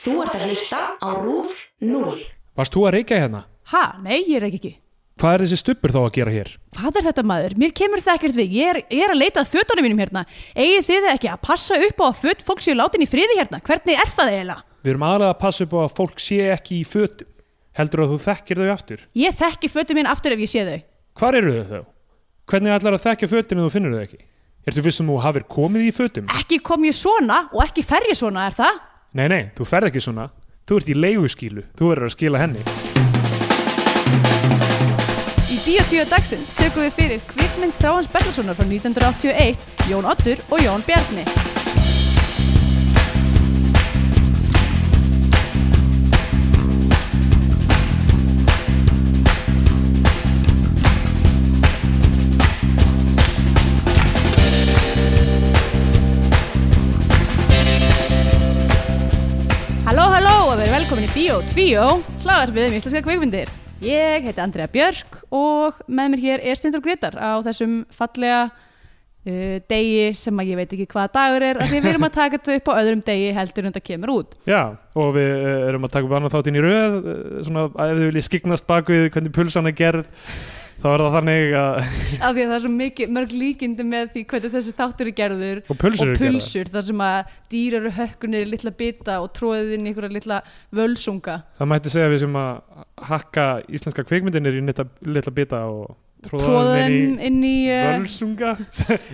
Þú ert að hlusta á RÚF 0. Varst þú að reykja hérna? Ha, nei, ég er ekki ekki. Hvað er þessi stubbur þá að gera hér? Hvað er þetta maður? Mér kemur það ekkert við. Ég er, ég er að leita að fötunum mínum hérna. Egið þið ekki að passa upp á að föt fólk séu látin í friði hérna? Hvernig er það eiginlega? Við erum aðlega að passa upp á að fólk sé ekki í fötum. Heldur að þú þekkir þau aftur? Ég þekki fötum mín aftur ef ég sé þau. Hvar eru þau þá? Hvernig ætlar að þekka fötum ef þú finnur þau ekki? Ertu viss um að þú hafir komið í fötum? Ekki kom ég svona og ekki fer ég svona, er það? Nei, nei, þú ferð ekki svona. Þú ert í leiguskílu. Þú verður að skila henni. Í Bíotíu dagsins tökum við fyrir kvikmynd Þráhans Berglasonar frá 1981, Jón Oddur og Jón Bjarni. Halló, halló og verið velkomin í Bíó 2, hlaðarpið um íslenska kvikmyndir. Ég heiti Andrea Björk og með mér hér er Stindur Gretar á þessum fallega uh, degi sem að ég veit ekki hvaða dagur er af því við erum að taka þetta upp á öðrum degi heldur en þetta kemur út. Já, og við eh, erum að taka upp annað þáttinn í röð, eh, svona að ef þið viljið skiknast bak við hvernig pulsan er gerð, þá er það þannig að, Af því að það er svo mikið, mörg líkindi með því hvernig þessi þáttur er gerður og pulsur og eru gerðar. pulsur þar sem að dýr eru hökkunir í litla bita og tróðið inn í einhverja litla völsunga. Það mætti segja að við sem að hakka íslenska kvikmyndinir í netta, litla bita og tróða Tróða þeim þeim inn í inn í... eh, völsunga.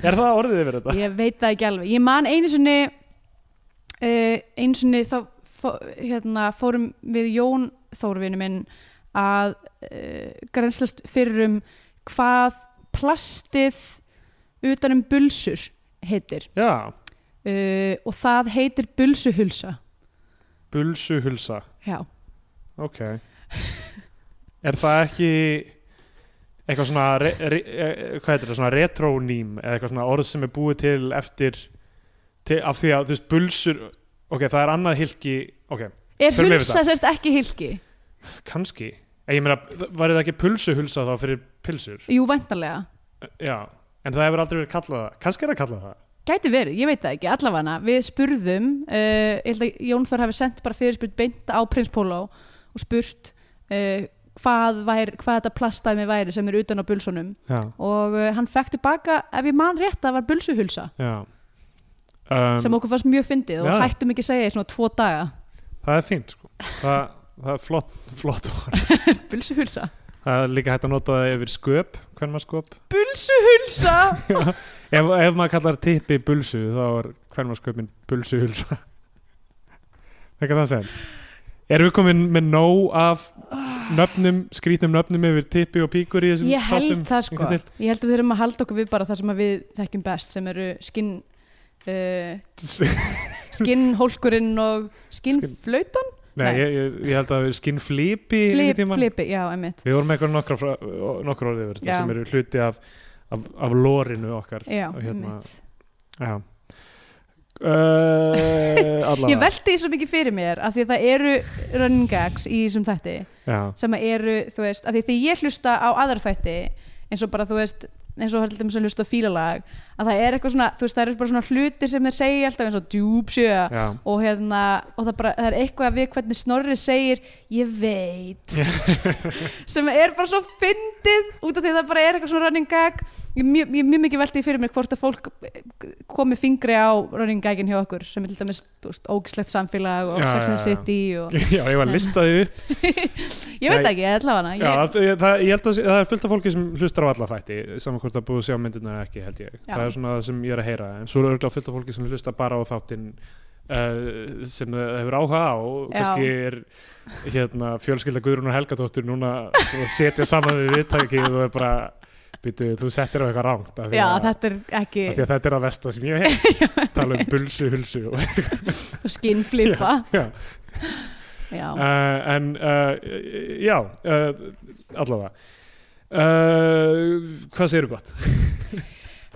er það orðið yfir þetta? ég veit það ekki alveg ég man einu sinni uh, einu sinni þá fó, hérna, fórum við Jón Þórvinu minn að uh, grenslast fyrir um hvað plastið utan um bulsur heitir Já, uh, og það heitir bulsuhulsa pulsuhulsa, já, ok. Er það ekki eitthvað svona, re, re, eh, hvað heitir það, svona retroným eða eitthvað svona orð sem er búið til eftir, til, af því að þú veist, pulsur, ok, það er annað hilki, ok, er Förum yfir hulsa sérst ekki hilki? kannski, en ég meina, var það ekki pulsuhulsa þá fyrir pilsur? Jú, væntanlega Já, en það hefur aldrei verið kallað það, kannski er það kallað það? Gæti verið, ég veit það ekki, allavega við spurðum, uh, ég held að Jón Þór hafi sendt bara fyrirspurt beint á Prins Póló og spurt uh, hvað, væri, hvað þetta plastæmi væri sem er utan á bulsunum Já. og uh, hann fekk tilbaka, ef ég man rétt, það var bulsuhulsa Já um, sem okkur fannst mjög fyndið og já. hættum ekki að segja í svona tvo daga, Það er fínt sko Það, það er flott, flott orð bulsuhulsa Það er líka hægt að nota það yfir sköp Hvern maður sköp Bulsuhulsa! Ef, ef maður kallar tippi bulsu þá er hvern maður sköpin bulsuhulsa Ekki það sens Erum við komin með nóg af nöfnum, skrítnum nöfnum yfir tippi og píkur í þessum Ég held þáttum? það sko, Hingað til? ég held að við erum að halda okkur við bara það sem að við þekkjum best sem eru skinn uh, skinnhólkurinn og skinnflautan Nei, Nei. Ég, ég, ég held að það er skinnflipi Flip, flipi, já, einmitt Við vorum með eitthvað nokkra, frá- nokkra orðið yfir þetta Já. sem eru hluti af, af, af lórinu okkar Já, Og hérna- einmitt Já uh, Ég velti því svo mikið fyrir mér af því að það eru running gags í þessum þætti Já, sem að eru, þú veist, af því þegar ég hlusta á aðra þætti eins og bara, þú veist eins og haldum sem hlusta á fílalag að það er eitthvað svona, þú veist, það eru bara svona hlutir sem þeir segja alltaf eins og djúpsjö já, og hérna, og það, bara, það er eitthvað við hvernig Snorri segir, ég veit sem er bara svo fyndið út af því að það bara er eitthvað svona running gag ég er mjög, ég er mjög mikið veltið fyrir mér hvort að fólk eh, komi fingri á running gagin hjá okkur sem er til dæmis þú veist, ógislegt samfélag og Já, Sex já, and já. the City og, já, ég var að lista þau upp ég veit Já, ekki, ég ætla hana Já, ég, það, ég- það, ég held að sé- það er fullt af fólki sem hlustar á alla þætti saman hvort það búið að sjá myndirna eða ekki, held ég Já. Það er svona það sem ég er að heyra en svo er örgulega fullt af fólki sem hlustar bara á þáttinn uh, sem það hefur áhuga á og Já. kannski er hérna, fjölskylda Guðrún og Helgadóttur núna að setja saman við viðtækið og er bara, býtu, þú settir á eitthvað rangt af því já, að- þetta er ekki af því að þetta er að vesta sem ég hef tala um bulsu, hulsu og skinnflipa já. já, Uh, en uh, já uh, allavega uh, hvað segir þú gott?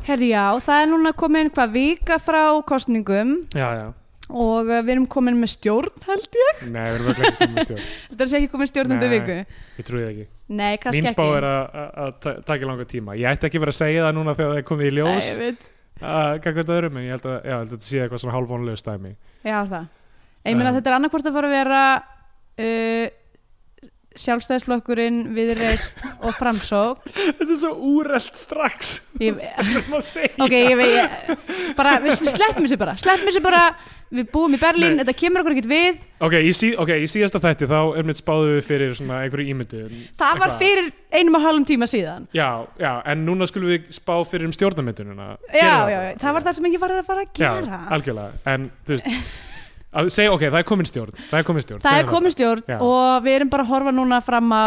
herði já, það er núna komin hvað vika frá kostningum já, já, og uh, við erum komin með stjórn held ég, nei, við erum örugglega ekki komið með stjórn þetta er ekki komin stjórn undir Nei. viku ég trúi það ekki, Nei, kannski mín ekki spá er að- að að ta- taka langa tíma, ég ætti ekki verið að segja það núna þegar það er komið í Nei, ljós ég veit, uh, gangvænt öðrum, en ég held að, já, held að þetta sé eitthvað svona hálfvónulegur stæmi já það ég meina Já. þetta er annarkvort að fara að vera uh, sjálfstæðisflokkurinn viðreist og framsók Þetta er svo úrelt strax ég, Það er maður að segja ok, ég veit ég, bara, við sleppum þessu bara sleppum þessu bara, við búum í Berlín Nei. þetta kemur okkur ekkert við Ok, í, sí, ok, í síðasta þætti þá er mitt spáðu við fyrir svona einhverju ímyndu það var fyrir einum og hálfum tíma síðan Já, já, en núna skulum við spá fyrir um stjórnarmyndununa já, já, já, það var það sem ég var að fara að gera Já, algjörlega, en þú veist að segja, ok, það er komin stjórn Það er komin stjórn það er segðu komin stjórn Já. og við erum bara að horfa núna fram á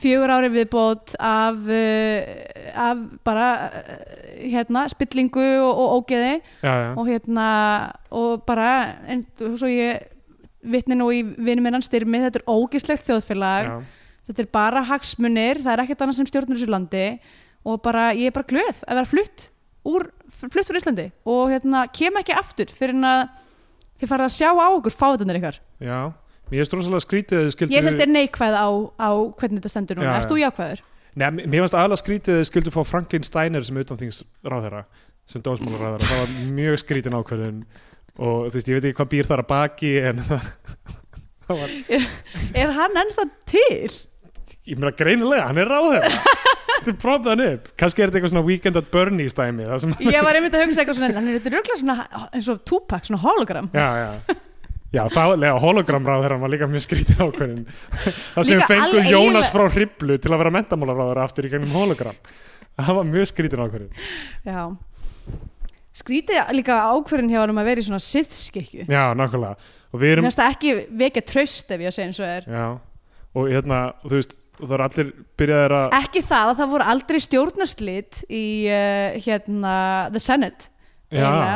fjögur ári viðbót af, uh, af bara uh, hérna, spillingu og, og ógeði Já, já, og hérna og bara, en þú- svo ég vitni nú í vinum minnan styrmi þetta er ógislegt þjóðfélag já, þetta er bara hagsmunir, það er ekkert annað sem stjórnur þessu landi og bara, ég er bara glöð að vera flutt úr, flutt úr Íslandi og hérna, kem ekki aftur fyrir en að þið farið að sjá á okkur fáðunir ykkar já Mér er stróðslega skrítið að þið skildu Ég sérst er neikvæð á, á hvernig þetta stendur núna. Já, Ert þú jákvæður? Nei, mér mér finnst aðalega skrítið að þið skildu fá Franklin Steiner sem utanþingsráðherra sem dómsmálaráðherra, það var mjög skrítin ákveðin og þú veist, ég veit ekki hvað býr þar að baki en það, það var, Er hann ennþá til? ég meina greinilega, hann er ráðherra þið prófðu hann upp kannski er þetta eitthvað svona Weekend at Bernie stæmi það sem, Ég var einmitt að hugsa eitthvað svona, hann er þetta röglega svona eins og Tupac, svona hologram. já, já Já, þá lega hologram ráðherra var líka mjög skrítin ákveðin það sem Líka fengu alveg Jónas eiginlega- frá Hriblu til að vera mentamálaráðherra aftur í gegnum hologram það var mjög skrítin ákveðin Já. Skrítið líka ákverðin hjá hann um að vera í svona siðskikju. Já, nákvæmlega og við erum Mér finnst það ekki vekja tröst ef ég að segja eins og er. Já, og hérna, og þú veist, og það eru allir byrjaðir að, Ekki það að það voru aldrei stjórnarslit í uh, hérna, The Senate. já, eiginlega,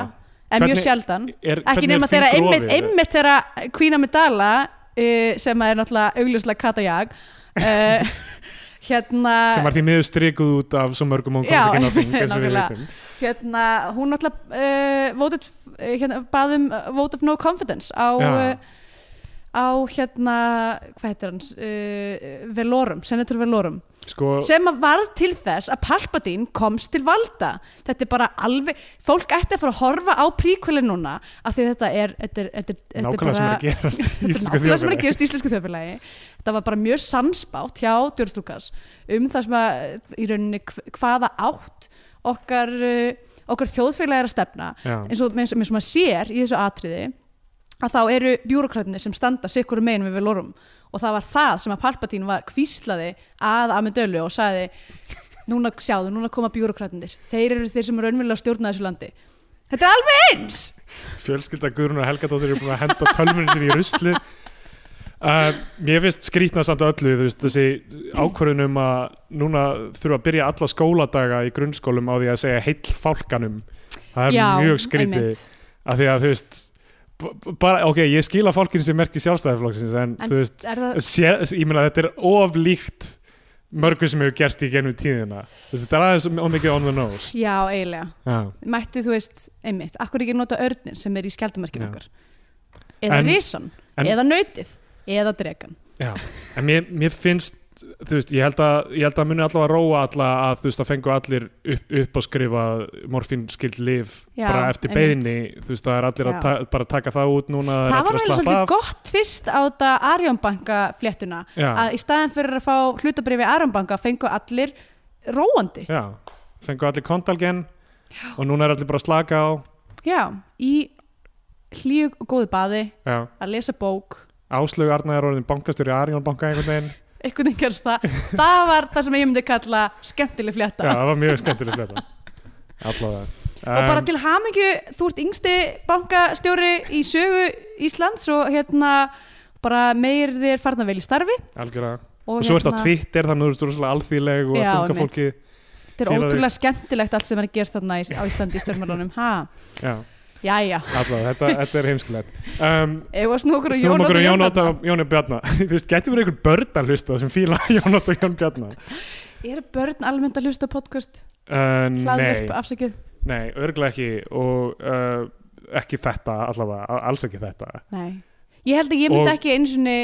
En Hvernig- mjög sjaldan. er, Ekki nema þeirra einmitt, einmitt þeirra Queen Amidala uh, sem er náttúrulega augljóslega katajag uh, hérna, sem var því miður strikuð út af svo mörgum og komst Já, ekki inn á þing, eins og við nákvæmlega. veitum. hérna hún náttúrulega uh, voted, uh, hérna, baðum uh, vote of no confidence á, Já. uh, á hérna hvað heitir hans uh, Velorum, Senator Velorum Sko, sem að varð til þess að Palpatine komst til valda þetta er bara alveg, fólk ætti að fara að horfa á príkvölin núna af því að þetta er, þetta er, þetta er, þetta er nákvæmlega sem er að gerast í Þetta er íslensku nákvæmlega sem er að þjóðfélagi. gerast í íslensku þjóðfélagi þetta var bara mjög sannspátt hjá Djörnstúkas um það sem að í rauninni hv- hvaða átt okkar, uh, okkar þjóðfélagi er að stefna Já, eins og eins, eins og maður sér í þessu atriði að þá eru bjúrokratinni sem standa sikkur megin við velorum og það var það sem að Palpatín var kvíslaði að Amidölu og sagði núna sjáðu, núna koma bjúrokratinir þeir eru þeir sem eru raunverulega að stjórna þessu landi þetta er alveg eins fjölskylda Guðrún og Helgadóttir eru búin að henda tölvunin sinni í rusli. Uh, mér finnst skrítna samt öllu, þú veist, þessi ákvörðun um að núna þurfa að byrja alla skóladaga í grunnskólum á því að segja heill fálkanum. Það er mjög skrítið. einmitt. af því að þú veist b- b- bara, ok, ég skila fólkinu sem merki sjálfstæðiflokksins en, En- þú veist, Er það, sé, ég meina þetta er of líkt mörgu sem hefur gerst í genum tíðina Þú veist, þetta er aðeins on mikið on the nose já, eiginlega já, mættu þú veist, einmitt, akkur ekki nota örnin sem er í skjaldamarkinu Já. okkar eða En- risan, en- eða nautið eða dregan já. en mér, mér finnst þú veist, ég held að, ég held að muni allavega róa alla að þú veist, það fengu allir upp, upp að skrifa morfínskild lif Já, bara eftir einmitt. beðinni, þú veist, það er allir Já. að ta bara taka það út núna það er það var allir að alveg slappa svolítið af. gott fyrst á þetta Arjónbanka fléttuna Já. að í staðin fyrir að fá hlutabrifi Arjónbanka fengu allir róandi já, já, fengu allir kontalgen og núna er allir bara að slaka á í hlíu og góðu baði já að lesa bók Áslögu Arna er orðin bankastjóri Arjón banka einhvern veginn einhvern veginn gerst það það var það sem ég myndi kalla Já, skemmtileg flétta það var mjög skemmtileg fleta Allavega og bara Em, til hamingju, þú ert yngsti bankastjóri í sögu Íslands og hérna bara meir þér farna vel í starfi Algjörlega og, Og svo ertu á hérna, Twitter, þannig að þú ert rosalega alþýleg og að Já, stunga einmitt. fólki þetta er félagur. ótrúlega skemmtilegt allt sem er að gerast þarna í- á Íslandi í stjórnmálunum ha, Já, jæja allavega, þetta, þetta er heimskilegt um, Ef að snúa okkur á hérna? Snúum okkur á Jónóta Jónóta og Jóni Bjarna Þú veist, getur verið einhver börn að hlusta sem fíla Jónóta og Jón Bjarna Er börn almennt að hlusta á podcast? uh, Nei, Hlaðvörp, afsakið nei, örglega ekki og uh, ekki þetta allavega, a- alls ekki þetta Nei Ég held að ég myndi Og- ekki einu sinni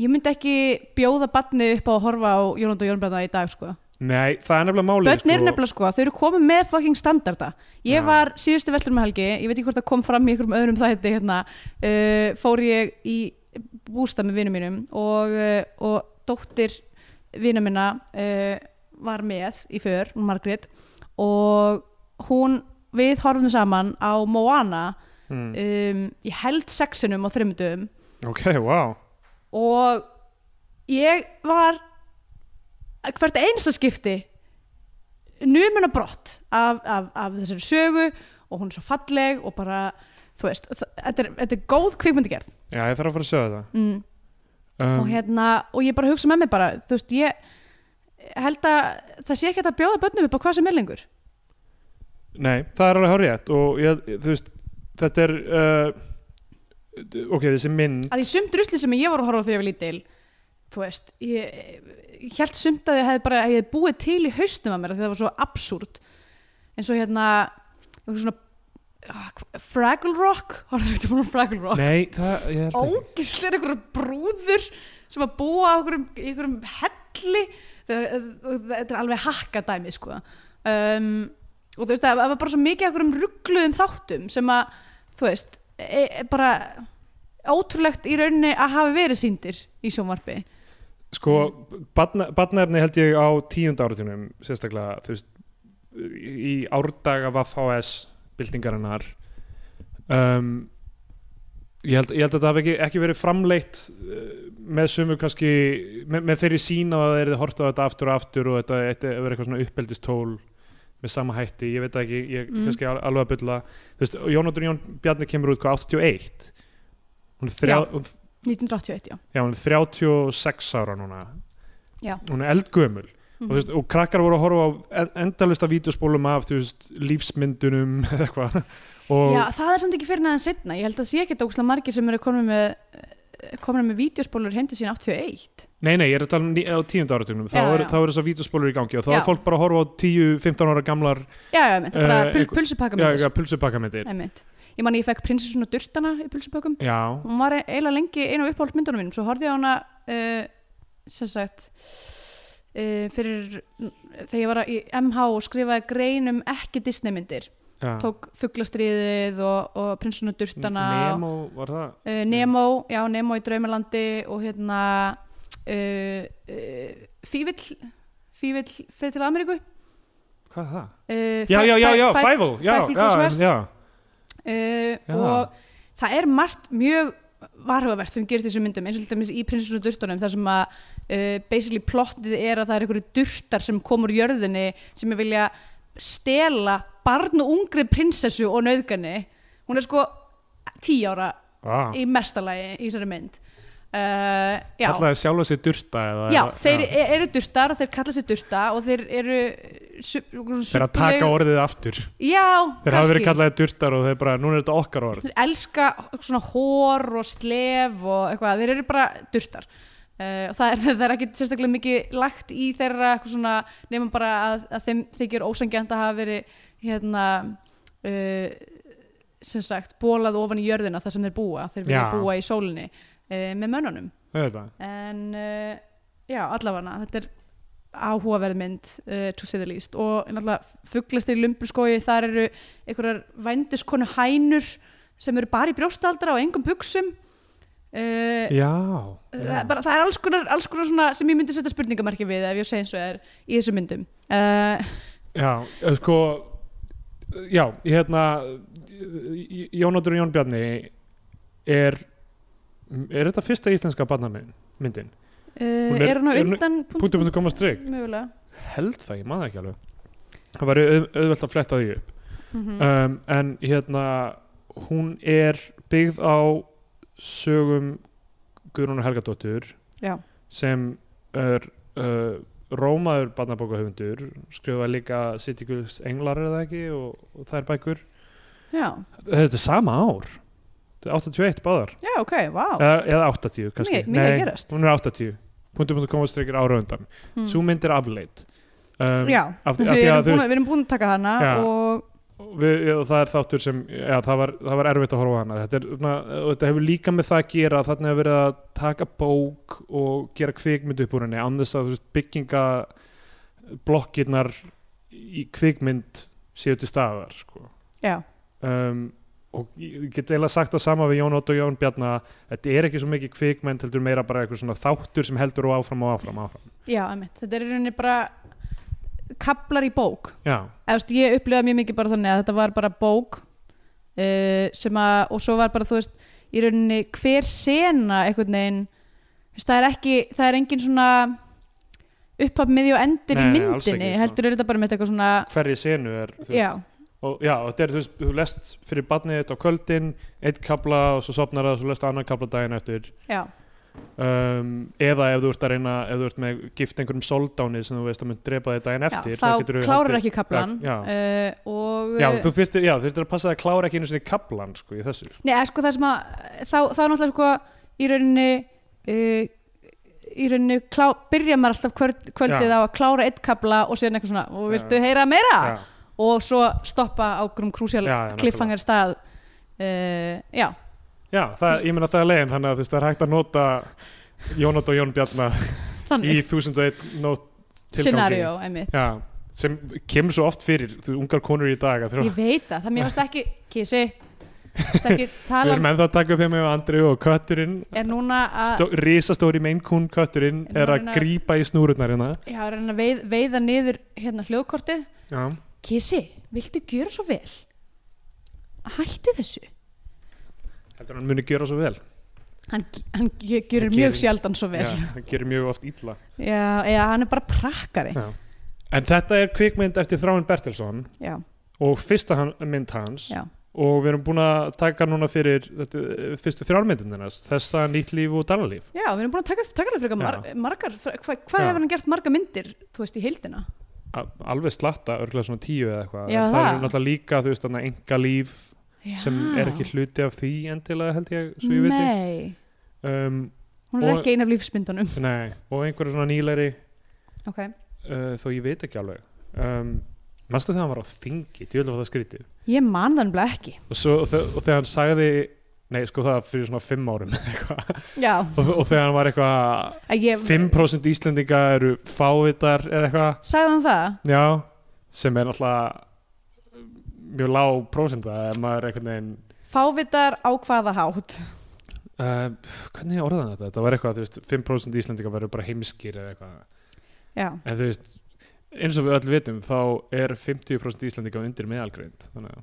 Ég myndi ekki bjóða batni upp á að horfa á Jónóta og Jónóta í dag sko Nei, það er nefnilega málið Börn eru nefnilega sko, þau eru komið með fucking standarda Ég Já. var síðustu veldur með helgi Ég veit ekki hvort það kom fram í einhverjum öðrum þætti hérna. uh, Fór ég í bústað með vinum mínum Og, uh, og dóttir vinum minna uh, var með í för, hún Margrét Og hún, við horfum saman á Moana Mm. um, Ég held sexinum á þreymdum Ok, wow og ég var hvert einsta skipti numuna brott af, af, af þessari sögu og hún er svo falleg og bara þú veist, þ- þetta er, þetta er góð kvikmyndi gerð Já, ég þarf að fara að sjá þetta mm. um, og hérna, og ég bara hugsa með mig bara þú veist, ég held að það sé ekki hægt að bjóða börnum upp á hvað sem er lengur Nei, það er alveg hárétt og ég, þú veist, þetta er uh, ok, þessi mynd að í sumt rusli sem ég var að horfa á þegar ég var lítil þú veist, ég, ég held sumt að ég hefði bara, ég hefði búið til í haustum að mér af því það var svo absúrt eins og hérna eitthvað svona, ah, hva- Fraggle Rock horfðu ekki búin á Fraggle Rock Nei, það, ég held ekki ógislir einhverjar brúður sem að búa á einhverjum, í einhverjum helli Þegar- eh, og þetta er alveg hakkadæmi sko um, og þú veist það það var bara svo mikið af einhverjum ruggluðum þáttum sem að þú veist e, e, bara ótrúlegt í rauninni að hafa verið síndir í sjónvarpi Sko, barna- barnaefni held ég á tíunda áratunum sérstaklega, þú veist í árdaga VHS byltingarinnar um, ég, held, ég held að það hafi ekki, ekki verið framleitt uh, með sumu kannski með, með þeirri sín á að þeir eru hort á þetta aftur og aftur og þetta þetta hefur verið eitthvað svona uppeldistól með sama hætti, ég veit það ekki ég Mm. mm. kannski al- alveg að bylla þú veist, Jónatur Jón Bjarni kemur út hvað 81 hún er, þrjá, Já. hún, 1981 já já, hún er 36 ára núna Já. hún er eldgömul og, þú Mhm. veist, og krakkar voru að horfa á endalista vídeospólum af þú veist, lífsmyndunum eða eitthvað og Já, það er samt ekki fyrir neðan setna ég held að sé ekki dókslega margir sem eru komin með komin með vídeospólur heim til sín 81 nei nei, ég er að tala um ní- á tíunda áratugnum þá Já, eru já. er þessar vídeospólur í gangi og þá Já. er fólk bara að horfa á 10-15 ára gamlar Já, já, einmitt, bara Eh, uh, einhver- pulsupakka já, já, pulsupakkamyndir Einmitt. Ég man að ég fekk prinsessuna Durtana í pulsupökkum. já, Hún var e- eiginlega lengi einu af uppáhald myndunum mínum. Svo horfði ég á hana uh, sem sagt uh, fyrir þegar ég var í MH og skrifaði grein um ekki Disney myndir. já. Tók fuglastriðið og, og prinsessuna Durtana. Nemo var það Uh, Nemo, já, Nemo í Draumalandi og hérna uh, uh, Fívill Fívill fyrir til Ameríku. hvað er það? Uh, já, já, Fæ- já, Fæ- já, Fæ- Fæful já, Five Fingers já, West. já, uh, Já. og það er margt mjög varhugavert sem gerist í þessum myndum eins og til dæmis í prinsessun og durtunum þar sem að uh, basically plottið er að það er einhverju durtar sem komur jörðinni sem er vilja stela barn og ungri prinsessu og nauðgani hún er sko tí ára Ah, í mestalagi í þessari mynd uh, já, kallaði sjálfa sér durta eða, já, eða- þeir já. eru durtar og þeir kalla sér durta og þeir eru sub, þeir að taka orðið aftur já, þeir hafa verið kannski. kallaði durtar og þeir bara, núna er þetta okkar orð þeir elska svona hór og slef og eitthvað, þeir eru bara durtar uh, og það er, það er ekki sérstaklega mikið lagt í þeirra eitthvað svona, nefnum bara að, að þeim þykir ósangjant að hafa verið hérna uh, sem sagt, bólað ofan í jörðina þar sem þeir búa, þeir vilja Já. búa í sólinni uh, með mönnunum Auðvitað. en uh, já, allavega þetta er áhugaverð mynd uh, to say the least og náttúrulega fugglastir í lumburskói þar eru einhverjar vændiskonu hænur sem eru bara í brjóstaldra og engum buksum uh, já, já. það, eh, bara, það er alls konar, alls konar svona sem ég myndi setja spurningamarki við ef ég segi eins og er í þessum myndum uh, Já, eh, sko Já, hérna J- J- Jónóttur og Jón Bjarni er er þetta fyrsta íslenska barnamyndin? uh, Hún er- er hún á er hún- undan Punktu punktu koma strik mögulega held það, ég maður ekki alveg það væri auð, auðvelt að fletta því upp mm um, en hérna hún er byggð á sögum Guðrúnar Helgadóttur já, sem er uh, rómaður barnabókahöfundur skrifaði líka City Girls Englar er það ekki og, og það er bækur já, Þetta er sama ár Þetta er 81 báðar já, ok, vá eða, eða 80 kannski Mikið- mikið að gerast. hún er 80 Punktum punktum komast reykir ára undan Mm. Sú mynd er afleitt um, já, af, af við, því að erum þú búin, við erum búin að taka hana Já. og við, og það er þáttur sem já, það, var, það var erfitt að horfa á hana þetta, er, svona, og þetta hefur líka með það að gera að þarna hefur verið að taka bók og gera kvikmynd upp úr henni án þess að þú veist, bygginga blokkirnar í kvikmynd séu til staðar sko. já, um, og ég get eiginlega sagt það sama við Jón Ótt og Jón Bjarna þetta er ekki svo mikið kvikmynd heldur meira bara eitthvað svona þáttur sem heldur og áfram og áfram, og áfram. já, emitt þetta er í rauninni bara kaplar í bók Já, Eða, þú veist, ég upplifaði mjög mikið bara þannig að þetta var bara bók uh, sem að, og svo var bara þú veist í rauninni hver sena einhvern veginn þú veist, það er ekki, það er engin svona upphaf miði og endir Nei, í nei, alls ekki, myndinni sko. heldur er þetta bara með eitthvað svona hverri senu er þú veist, já, og já, og þetta er, þú veist, þú lest fyrir barnið þetta á kvöldin, eitt kabla og svo sopnar það og svo lest annan kabla daginn eftir já, um, eða ef þú ert að reyna, ef þú ert með gift einhverjum soldáni sem þú veist að mun drepa þig daginn eftir, já þá geturðu klárar haldið- ekki kaplan Já, já. uh, og Já, þú þurftir, já, þú þurftir að passa að klára ekki einu sinni kablan, sko, í þessu Nei, eða sko það sem að þá, þá náttúrulega sko í rauninni uh, í rauninni klá, byrja maður alltaf kvöld, kvöldið Já. á að klára eitt kabla og síðan eitthvað svona, og Já. viltu heyra meira? Já, Og svo stoppa á grum krúsjál Já, já, kliffangar stað uh, Já, já það, ég meina það er leiðin þannig að þú veist, það er hægt að nota Jónat og Jón Bjarnar í þannig 1001 nót tilgangi scenario, einmitt Já, sem kemur svo oft fyrir, þú ungar konur í dag að Ég þurfa, veit það, það mér varst ekki kissi, varst ekki við tala erum um ennþá að taka upp hjá mig og Andri og kötturinn er núna að Stó, risastóri meinkún kötturinn En er hún að er að- grípa í snúrurnar hérna já, er hann að veið, veiða niður hérna hljóðkortið já. Kissi, viltu gjöra svo vel? Hættu þessu heldur hann muni gera svo vel hann, hann ge- gerir Hann mjög gerir- sjaldan svo vel já, já. hann gerir mjög oft illa eða hann er bara prakkari já. en þetta er kvikmynd eftir Þráin Bertelsson já, og fyrsta hann, mynd hans já, og við erum búin að taka núna fyrir þetta, eh, fyrstu þrjármyndindinas þessa nýtt líf og dalalíf já, við erum búin að taka, taka alveg frekar mar, margar, þra- hvað, hvað Já. hefur hann gert marga myndir, þú veist, í heildina A- alveg slatta, örglega svona tíu eða eitthvað Já, En það það. er náttúrulega líka, þú veist, þannig enga líf já. sem er ekki hluti af því endilega held ég, svo ég veit nei, um, hún er Og- ekki ein af lífsmyndunum nei, og einhverju svona nýleiri ok, uh, þó ég veit ekki alveg um, mannstu þegar hann var á þingi ég vil að það skrítið ég man þann bara ekki og, svo, og, þe og þegar hann sagði nei sko það var fyrir svona fimm árum eitthvað. já, og, og þegar hann var eitthvað að ég 5% Íslendinga eru fávitar eða eitthvað sagði hann það já, sem er náttúrulega eh, mjög lág prósenda ef maður einhvern veginn fávitar á hvaða hátt uh, hvernig orðan þetta, þetta var eitthvað þú veist, 5% Íslendinga verður bara heimskir eða eitthvað já, en þú veist, eins og við öll vitum þá er 50% Íslandinga undir meðalgreind þannig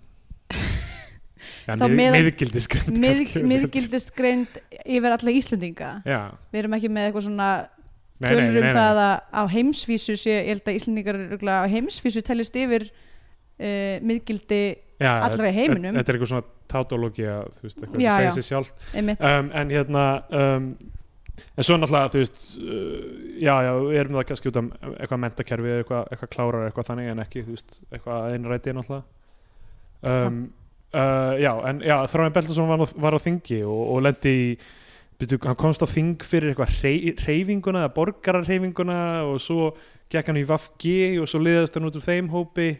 að Já, Þá meðal- miðgildisgreind Mið, kannski. miðgildist greind yfir alla Íslendinga Já, við erum ekki með eitthvað svona nei, nei, tölur nei, um nei. það að á heimsvísu sé, ég held að Íslendingar örugglega á heimsvísu tellist yfir uh, miðgildi Já, allra í þetta- heiminum. Þetta er eitthvað svona tautológia, þú veist, eitthvað Já, það segir já. sér sjálft einmitt, um, En hérna um, En svo náttúrulega, þú veist uh, Já, já, við erum það kannski út af eitthvað mentakerfi, eitthvað, eitthvað klárar eitthvað þannig en ekki, þú veist, eitthvað einræti náttúrulega um, uh, Já, en já, Þráin Beltason var, á- var á þingi og, og lendi í byrju, hann komst á þing fyrir eitthvað hrey, reyfinguna, borgararreyfinguna og svo gekk hann í VFG og svo liðast hann út úr þeim hópi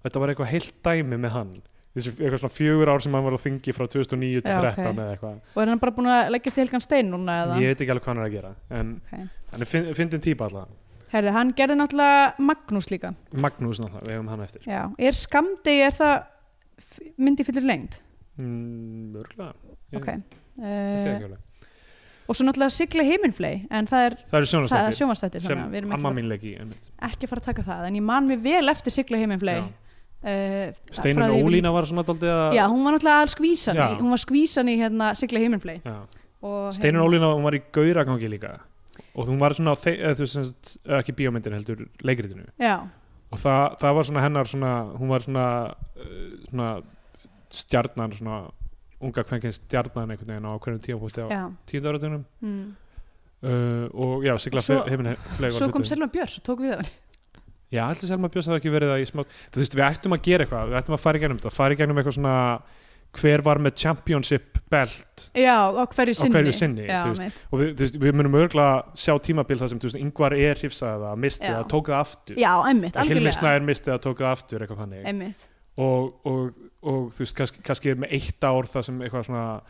þetta var eitthvað heilt dæmi með hann þessi eitthvað svona fjögur ár sem hann var á þingi frá 2009 til Já, 13 ok. eða eitthvað og er hann bara búin að leggjast í helgan stein núna eða? ég veit ekki alveg hvað hann er að gera en Okay. hann er fyn- fyndin típa alltaf Herði, hann gerði náttúrulega Magnús líka Magnús náttúrulega, við hefum hann eftir Já. er skamdegi, er það f- myndi fyllir lengd mm, örgulega, Ég- okay. ekki Uh, ekki alveg og svo náttúrulega sigla heiminflei en það er, það eru það sjónastættir er sjómanstættir sem við erum amma ekki, mín leiki einmitt. ekki að fara að taka það en ég man mér vel eftir sigla heiminflei Já. uh, Steinun Ólína var svona daldið að Já, hún var náttúrulega alls skvísan í, Já. hún var skvísan í hérna sigla heiminflei Já. og hérna- Steinun Ólína, hún var í gauragangi líka og hún var svona á þe- eða þú veist sem sagt, ekki bíómyndin heldur leikritinu já, og það, það var svona hennar svona, hún var svona, uh, svona stjarnan svona unga kvenkin stjarnan einhvern veginn á hverjum tíapúlti á já. tíund áratunum Mm. uh, og já, sigla Svo- heiminn flegur svo kom Selma Björns og tók við af henni Já, allir Selma Björns hafði ekki verið það í smá Þú veist, við ættum að gera eitthvað, við ættum að fara í gegnum þetta fara í gegnum eitthvað svona hver var með championship belt já, á hverju Á sinni, hverju sinni, já, þú veist. mitt. og við, þú veist, við munum örgulega sjá tímabil það sem þú veist, yngvar er hrifsaði það, mistið Já. það, tók það aftur já einmitt, Hilmi algjörlega Snæður mistið það, tók það aftur eitthvað þannig einmitt. og, og, og þú veist, kannski, kannski er með eitt ár það sem eitthvað svona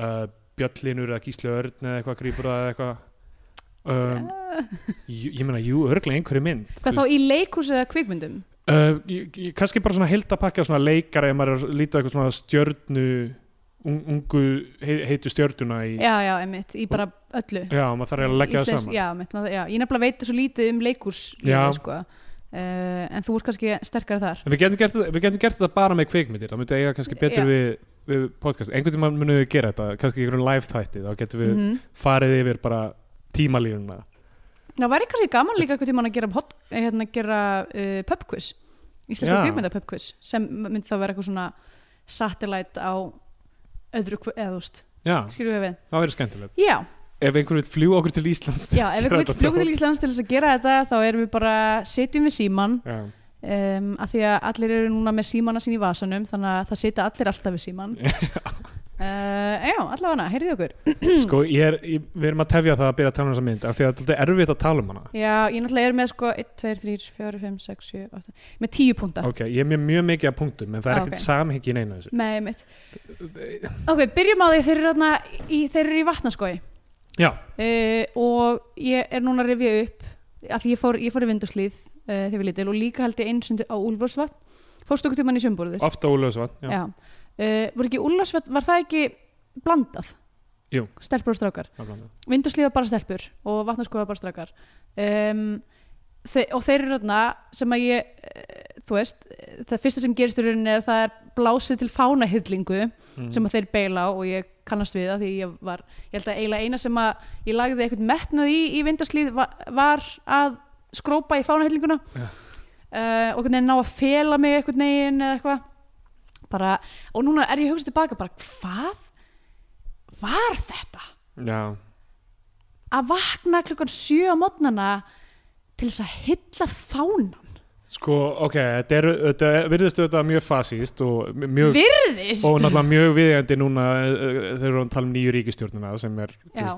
uh, Bjöllinur eða Gísli Örn eða eitthvað grýpur það eða eitthvað um, ég, ég meina, jú, örglega einhverju mynd Hvað þá í leikhús eða kvikmyndum? Uh, ég, ég, kannski bara svona heildapakka svona leikara ef maður er að líta á eitthvað svona stjörnu un, ungu hei, heitu stjörnuna í, Já, já, einmitt, í bara öllu já maður þarf að leggja það Íslensk- saman já, mitt, maður, já, ég nefnilega veit svo lítið um leikús Já. sko. uh, en þú ert kannski sterkari þar en við getum, gert, þetta- við getum gert þetta bara með kvikmyndir það myndi eiga kannski betur Já. við, við podcast, einhvern tímann munum við gera þetta kannski í einhverjum live þætti, þá getum við Mhm. farið yfir bara tímalínuna það væri kannski gaman líka eitthvað tíma að gera, hot, eh, hérna, gera uh, pubquiz íslenska Já. kvikmynda pubquiz sem myndi þá vera eitthvað svona satellite á öðru kv- eða úst, já, skilur við við það verður skemmtilegt já, ef einhvern veit fljú okkur til Íslands já, ef Gera við komum þetta fljóku til dót. Íslands til þess að gera þetta þá erum við bara, sitjum við síman já, um, að því að allir eru núna með símana sín í vasanum þannig að það sita allir alltaf við síman uh, já, allavega, heyrðið okkur sko, ég er, ég, við erum að tefja það að byrja að tala um þessa mynd af því að þetta er dálítið erfitt að tala um hana Já, ég náttúrulega er með sko 1, 2, 3, 4, 5, 6, 7, 8 með 10 púnta ok, ég er með mjög mikið að punktum en það er Ah, ekkert ok. okay. samhengi í neina þessu með mitt Ok, byrjum á því þeir eru, þarna í, þeir eru í vatnaskói já, uh, og ég er núna að rifja upp að því ég fór, ég fór í vinduslíð uh, þegar við lítil og líka held ég einsundi á Úlfarsvatn fórstu okkur tímann í sjömburður ofta ólöfsvann já, Já, uh, voru ekki Úlfarsvatn var það ekki blandað Jú. stelpur og strákar nákvæmlega. Vinduslíð var bara stelpur og vatnarskóða bara strakar um, þe og þeir eru þarna sem að ég eh, þú veist, eh, það fyrsta sem gerist í rauninni er að það er blásið til fánahyllingu Mm. sem að þeir beila á og ég kannast við það því ég var, ég held að eiginlega eina sem að ég lagði eitthvað metnað í í vinduslíð var, var að skrópa í fánahyllinguna Já. uh, og einhvern veginn ná að fela mig einhvern veginn eða eitthvað bara, og núna er ég að hugsa tilbaka bara, hvað var þetta? já, að vakna klukkan sjö á mótnana til þess að hylla fánan sko, ok þetta, er, þetta er- virðist auðvitað mjög fasíst og mjög virðist og náttúrulega mjög viðjandi núna uh, þegar við erum að tala um nýju ríkistjórnina sem er þú Já.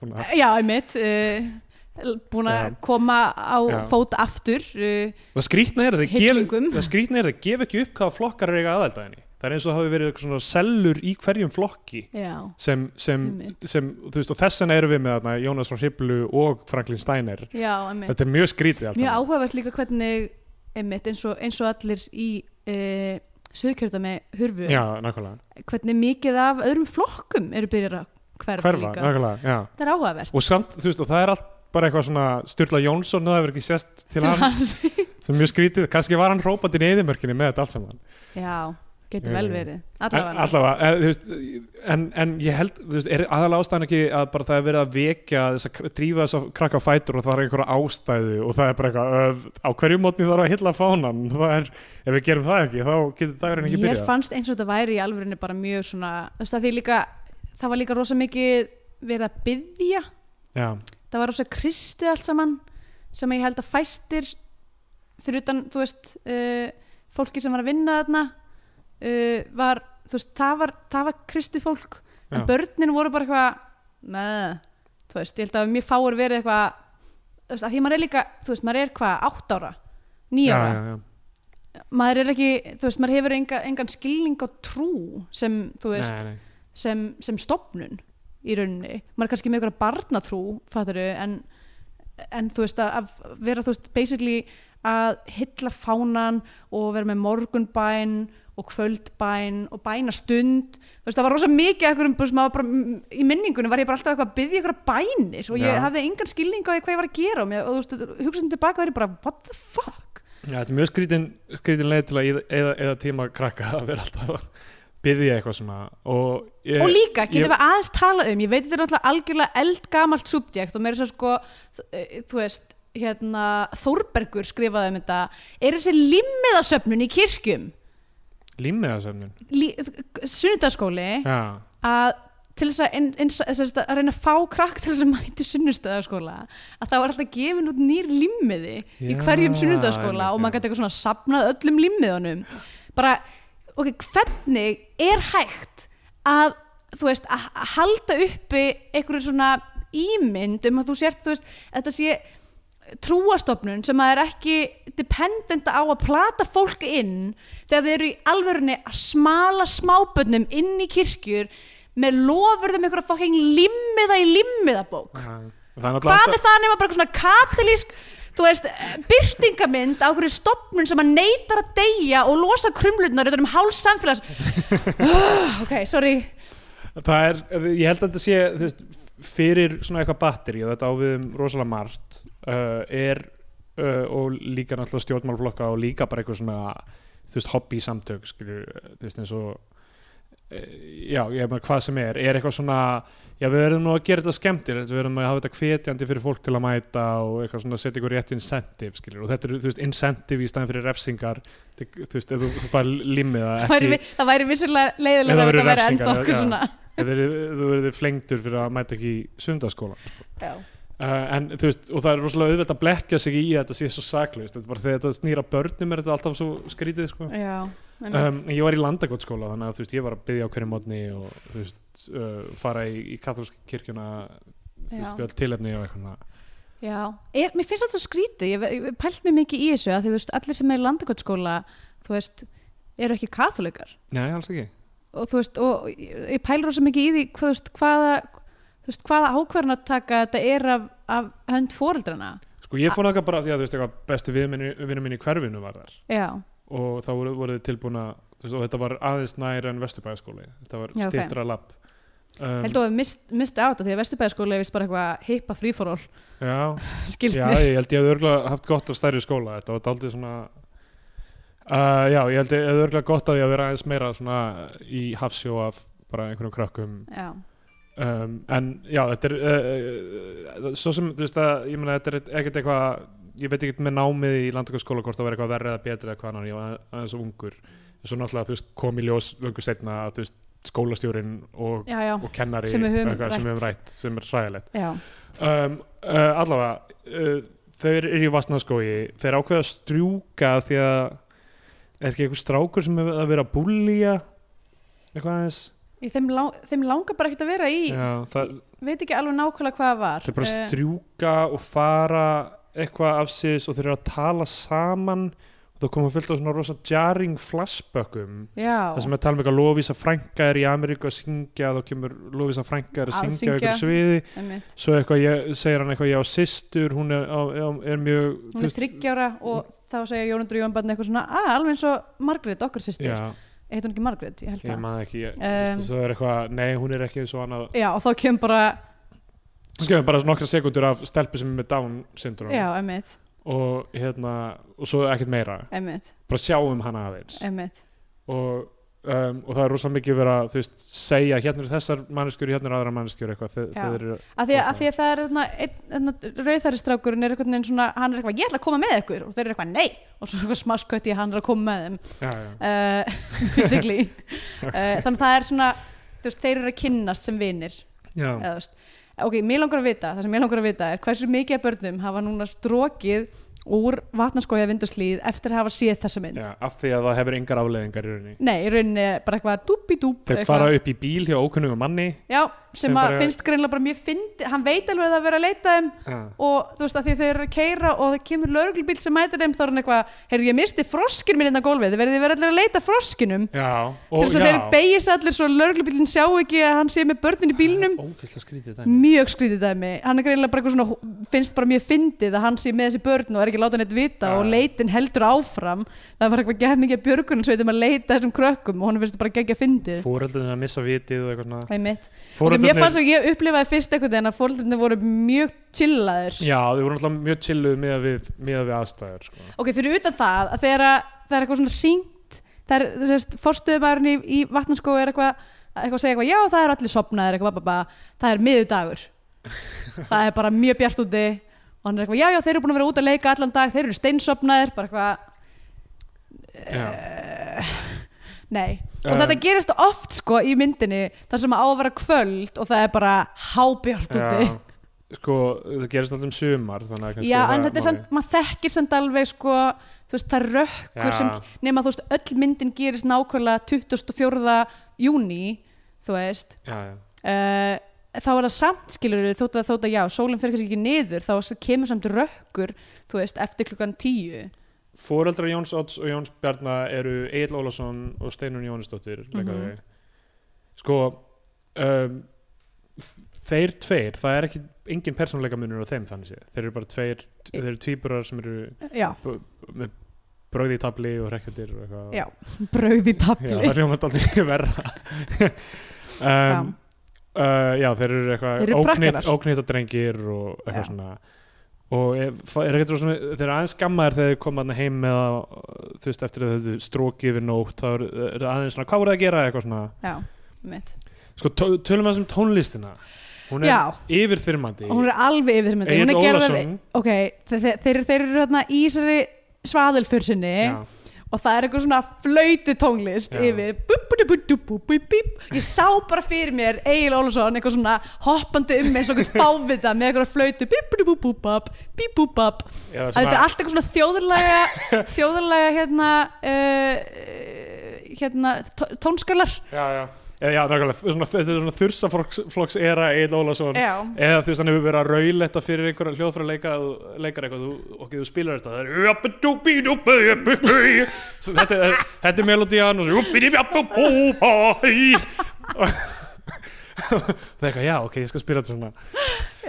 búin að- já, einmitt uh, búin að Já. koma á Já. fót aftur uh, og skrýtna er það Hillingum. gef, skrýtna er það gef ekki upp hvaða flokkar er eiga aðelda henni það er eins og það hafi verið eitthvað svona sellur í hverjum flokki já, sem, sem, Einmitt. sem þú veist og þess vegna erum við með þarna Jónas frá Hriblu og Franklin Steiner já, einmitt þetta er mjög skrýtið allt mjög saman. áhugavert líka hvernig einmitt eins og, eins og allir í uh, söðkjörða með hurfu já, nákvæmlega, hvernig mikið af öðrum flokkum eru byrjar að hverfa, hverfa, líka nákvæmlega já. það er áhugavert og samt, þú veist, og það er allt bara eitthvað svona Sturla Jónsson, það hefur ekki sést til hans sem er mjög skrítið, kannski var hann hrópandi í eðimörkinni með þetta allt saman já, getur vel Eh, verið en, allavega allavega, eh, þú veist, en, en ég held þú veist, er aðalega ástæðan ekki að bara það er verið að vekja þess að drífa þess að krakka á fætur og það er einhverja ástæðu og það er bara eitthvað, ö, á hverju mótni þarf að hylla fánan það er, ef við gerum það ekki, þá getur dagurinn ekki Mér byrjað fannst eins og þetta væri í alvörinu bara mjög svona, þú veist að því líka það var líka rosa mikið verið að byðja, Já, það var rosa kristið allt saman sem ég held að fæstir fyrir utan, þú veist uh, fólki sem var að vinna þarna uh, var, þú veist, það var það var kristið fólk, Já. en börnin voru bara eitthvað með, þú veist, ég held að mér fáur verið eitthvað þú veist, að því maður er líka, þú veist, maður er hvað átt ára, já, nýja ára já, já. maður er ekki, þú veist, maður hefur enga, engan skilning á trú sem, þú veist, Nei, nei. sem, sem stopnun í rauninni, maður er kannski með einhverja barnatrú, fattaru, en en þú veist, að, að vera, þú veist, basically að hylla fánan og vera með morgunbæn og kvöldbæn og bænastund þú veist, það var rosa mikið ekkur um, maður bara, mm, í minningunum var ég bara alltaf eitthvað að byggja einhverja bænir og ég Já. hafði engan skilning á því hvað ég var að gera og, mér, og þú veist, hugsaðum tilbaka verið bara, what the fuck Já, þetta er mjög skrítin, skrítin leið til að eyða- eyða eyða tíma krakka að vera alltaf að byðja eitthvað svona og, ég, og líka, getum Eh, ég- við aðeins tala um ég veit þetta er náttúrulega algjörlega eldgamalt subjekt og mér er svo sko þ- eh, þú veist, hérna, Þórbergur skrifaði um þetta, er þessi limmiðasöfnun í kirkjum Límmiðasöfnun Lí, sunnudaskóli Já, að til þess að, en, en, þess að reyna að fá krakk til þess að mæti sunnudaskóla að það var alltaf gefin út nýr limmiði í Já, hverjum sunnudaskóla einmitt, og já. maður gæti eitthvað svona sapnað öllum limmiðunum bara, ok, hvernig er hægt að, þú veist, að að halda uppi einhverju svona ímynd um að þú sért, þú veist, að þetta sé trúastofnun sem að er ekki dependent á að plata fólk inn þegar þið eru í alvörunni að smala smábönnum um inn í kirkjur með lofurðum ykkur að fokking limmiða í limmiðabók já Það er náttúrulega hvað alltaf- er það nema bara eitthvað svona kapitalísk þú veist, byrtingamind á hverju stopnun sem að neytar að deyja og losa krumlutnar utan um háls samfélags Ah, ok, sorry það er, ég held að þetta sé þú veist, fyrir svona eitthvað batteri og þetta á við um rosalega margt uh, er uh, og líka náttúrulega stjórnmálflokka og líka bara eitthvað svona þú veist, hobby samtök skilur, þú veist, eins og eh, já, ég meina hvað sem er, er eitthvað svona já, við verðum nú að gera þetta skemmtilegt við verðum að hafa þetta hvetjandi fyrir fólk til að mæta og eitthvað svona setja ykkur rétt incentive skilur, og þetta eru, þú veist, incentive í staðin fyrir refsingar, þú veist, ef þú, þú fær limmiða, það ekki væri, það væri vissulega leiðilega Ef það að væru þetta væri refsingar, ennþá okkur já. svona Ef þeir- þú verður flengtur fyrir að mæta ekki í sundaskóla já. uh, en þú veist, og það er rosalega auðvelt að blekja sig í að þetta sé svo saklaust þetta er bara þegar þetta snýra börnum er þetta alltaf svo skrítið sko. Já, um, einmitt. ég var í landakotskóla þannig að þú veist, ég var að byggja á hverju mótni og þú veist, uh, fara í, í katholska kirkjuna þú veist, Já. við öll tilefni og eitthvað svona. já. Er, mér finnst þetta svo skrítið ég, ég pælt mér mikið í þessu að því þú veist, allir sem er í landakottskóla þú veist, eru ekki katholikar nei, alls ekki og þú veist, og ég, ég pælir rosa mikið í því hvað, þú veist, hvaða þú veist, hvaða ákvarðan að taka þetta er af, af hönd fóreldrana sko, ég Ah. fór náttúrulega bara af því að þú veist, eitthvað bestu vinnum minn í hverfinu var þar já, og þá voru, voru þið tilbúin að þú veist, og þetta var aðeins nær en vesturbæðaskóli þetta var Já, ok. stýttra lapp um, held að við mist, misti át af því að vesturbæðaskóla er vist bara eitthvað heipa fríforól já, skilst Já, mér ég held ég hefði örgulega haft gott af stærri skóla þetta var daldið svona uh, já, ég held ég hefði örgulega gott af því að vera aðeins meira svona í hafsjó af bara einhvernum krakkum já, um, en já, þetta er uh, uh, svo sem, þú veist að ég meina þetta er ekkert eitthvað, ég veit ekkert með námið í landakarskóla hvort það var eitthvað verri eða betri eða hvað annar, ég var aðeins of ungur svo náttúrulega, þú veist, kom í ljós löngu setna að þú veist, skólastjórin og, já, já, og kennari Sem við höfum eitthvað sem við rætt. höfum rætt, sem er hræðilegt já. um, uh, allavega uh, þeir eru í vastnaskói þeir ákveða að strjúka af því að er ekki einhver strákur sem er að vera að búlja eitthvað aðeins Í Þeim, lang, þeim langar bara ekkert að vera í Já, það, veit ekki alveg nákvæmlega hvað það var þeir bara Eh, strjúka og fara eitthvað af síðis og þeir eru að tala saman og það koma fullt á svona rosa jarring flashbökkum það sem já, er að tala um eitthvað Lovisa Franka er í Ameríku að syngja þá kemur Lovisa Franka er að, Að syngja á syngja. einhverju sviði einmitt. svo eitthvað ég, segir hann eitthvað ég á systur hún er, á, á- er mjög þú hún er veist, þryggjára og þá segja Jónundur Jónbarn eitthvað svona, að alveg eins og Margrét, okkar sýstir, Já, heit hún ekki Margrét ég ég held það, maður ekki ég, Um, um, Svo er eitthvað, nei hún er ekki eins og annað já og þá kemur bara Skjöfum bara nokkra sekundur af stelpu sem er með Down syndrom já, emmitt, og hérna, og svo ekkert meira emmitt, bara sjáum hana aðeins emmitt og, um, og það er rosalega mikið verið að þú veist, segja hérna eru þessar manneskjur hérna eru aðra manneskjur eitthvað þeir, Já. þeir eru, að því að, að, því að það er einna, einna, rauðþæri strákurinn er einhvern veginn svona hann er eitthvað, ég ætla að koma með ykkur og þeir eru eitthvað, nei og svo er eitthvað smaskött í að hann er að koma með þeim já, já, uh, basically uh, þannig að það er svona þú veist, þeir eru að kynnast sem vinir já. eða, þú veist, ok, mér langar að vita það sem mér langar að vita er hversu mikið af börnum hafa núna strókið úr vatnarskója vinduslíð eftir að hafa séð þessa mynd já af því að það hefur engar afleðingar í rauninni nei, í rauninni er bara eitthvað dúbidúb þeir fara upp í bíl hjá ókunnugum manni já, sem, sem að bara- finnst greinlega bara mjög fyndi hann veit alveg að það er verið að leita þeim já. og þú veist að því þeir eru að keira og það kemur lögreglubíl sem mætir þeim þá er hann eitthvað, heyrðu ég misti froskin minn innan gólfið, þið verðið verið allir að leita froskinum Já, til og þess að þeir beigja sig allir svo lögreglubílinn sjá ekki að hann sé með börnin í bílnum Ókvæslega skrítið dæmi mjög skrítið dæmi, hann er greinilega bara eitthvað svona finnst bara mjög fyndið að hann sé með þessi börn og er ekki að láta neitt vita Já. og leitin heldur áfram það var eitthvað gett mikið björgun sveitum að leita þessum krökkum og hann finnst þetta bara geggja fyndið Fóreldurinn að missa vitið og eitthvað svona Einmitt. Fóreldarnir... Foreldrarnir- Mér fannst að ég upplifaði fyrst eitthvað en að fóreldrarnir voru mjög chillaðir Já, þau voru náttúrulega mjög chilluð með við, með við aðstæður sko. Ok, fyrir utan það að þegar að það er eitthvað svona hringt það er, þú veist, forstöðumæðurinn í, í vatnarskó er eitthvað, eitthvað að segja eitthvað, já það er allir sopnaðir, eitthvað, bá, bá, bá, það er miðudagur það er bara mjög bjart úti og hann er eitthvað, já, já, þeir eru búin að vera út að leika allan dag, þeir eru steinsopnaðir, bara eitthvað Eh, Já, nei, og Um. þetta gerist oft sko í myndinni, þar sem að á að vera kvöld og það er bara hábjart úti Sko, það gerist alltaf um sumar þannig að kannski Já, það en þetta er máli. samt, maður þekkir samt alveg sko, þú veist, það rökkur Já. sem, nema þú veist, öll myndin gerist nákvæmlega 24. júni, þú veist Já, já, uh, þá er það samt, skilur við, þótt að þótt að já, sólinn fer kannski ekki niður, þá kemur samt rökkur, þú veist, eftir klukkan 10 Fóreldrar Jóns Odds og Jóns Bjarna eru Egil Ólafsson og Steinun Jónsdóttir mm Mhm. Sko um, f- Þeir tveir, það er ekki engin persónuleika munur á þeim þannig séð. Þeir eru bara tveir, Í- þeir eru tvíburar sem eru já, með bröði í tabli og rekkjöndir og eitthvað. Já, brauð í Já, tabli það hljóma alltaf verra. um, uh, já, þeir eru eitthvað Þeir eru óknýtt, prakkarar. óknýtt og drengir og eitthvað Já. svona og er, er ekkert rosa, þeir eru aðeins skammaðir þegar þeir koma þarna heim með að, þú veist, eftir að þau höfðu strokið við nótt, þá eru er aðeins svona hvað voru það að gera eitthvað svona já, mitt sko, tó- tölum við um tónlistina hún er Já, yfirþyrmandi hún er alveg yfir þessum Egill Hún er gerð Ólafsson Ok, þe- þe- þeir, þeir eru hérna í þessari svaðilfur sinni já, og það er eitthvað svona flöytu tónlist Já. yfir bú, bú, bú, bú, bú, bú, bú. ég sá bara fyrir mér Egil Ólafsson eitthvað svona hoppandi um eins og eitthvað fávita með eitthvað flöytu bú, bú, bú, bú, bap, bí, bú, bap. eða Að þetta er svona, allt eitthvað svona þjóðurlega þjóðurlega hérna uh, hérna tó- tónskalar já, já, já, já nákvæmlega, svona, þetta er svona þursaflokks era Egil Ólafsson Já, eða þú veist hann hefur verið að rauletta fyrir einhverja hljóðfæra leikar, leikar eitthvað þú, og þú spilar þetta það er uppidúbidúbidúbidú. Svo þetta er, þetta er melodían og svo uppidúbidúbidúbidú. Og- það er eitthvað já ok ég skal spila þetta svona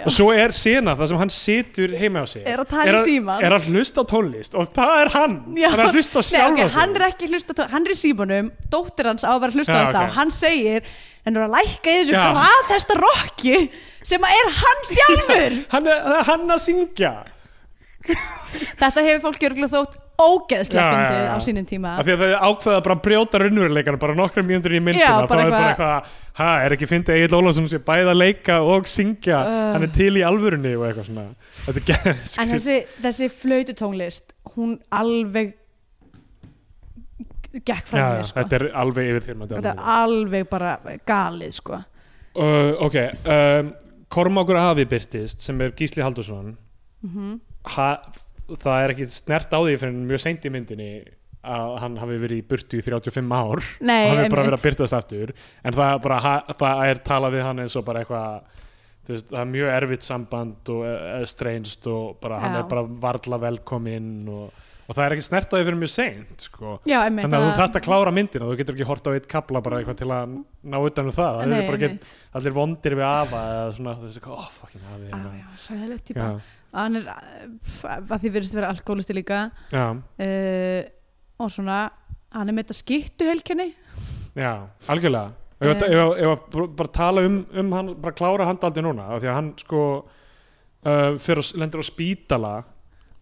og svo er sena það sem hann situr heima á sig Er að tala í símann. er að hlusta á tónlist og það er hann Já. hann er að hlusta á Nei, sjálfa ok, sig hann er ekki að hlusta á tón- hann er í símanum, dóttir hans á að vera að hlusta á Já, þetta ok. og hann segir hann er að lækka í þessu Já. hvað þesta rokki sem að er hann sjálfur hann er, það er hann að syngja þetta hefur fólk örgulega þótt ógeðslega Já, já, fyndið já. á sínum tíma af því að það er ákveða bara að brjóta raunveruleikan bara nokkrum mínútur í myndina Já, þá bara er bara eitthvað- eitthvað, ha, er ekki fyndið Egil Ólafsson sé bæði að leika og syngja Ugh. hann er til í alvörunni og eitthvað svona þetta er en geðskrið þessi, þessi flöytutónlist hún alveg gekk Já, frá já, mér sko. þetta er alveg yfir fyrir þetta er alveg bara galið sko. uh, ok, um, Kormákur Afi byrtist sem er Gísli Haldursson Mhm. ha, það er ekki snert á því fyrir mjög seint í myndinni að hann hafi verið í burtu í 35 ár Nei, og hann er bara verið einmitt. að byrtast aftur en það er, bara, ha- það er talað við hann eins og bara eitthvað þú veist, það er mjög erfitt samband og eh, streinst og bara, hann Já. er bara varla velkominn og, og það er ekki snert á því fyrir mjög seint sko. já, einmitt, þannig að þú þarft að klára myndina þú getur ekki hort á eitt kapla bara eitthvað til að ná utan um það, það Nei, er bara einmitt. get, allir vondir við afa eða svona, þú veist, oh fucking afi Á, hérna." já, hræðilegt típa já, hann er pff, að því virðist að vera alkoholisti líka já, uh, og svona hann er með þetta skittu helkenni já, algjörlega ef, Eh. ef, ef, ef að br- bara tala um, um hann, bara klára handaldi núna af því að hann sko uh, fyrir, lendur á spítala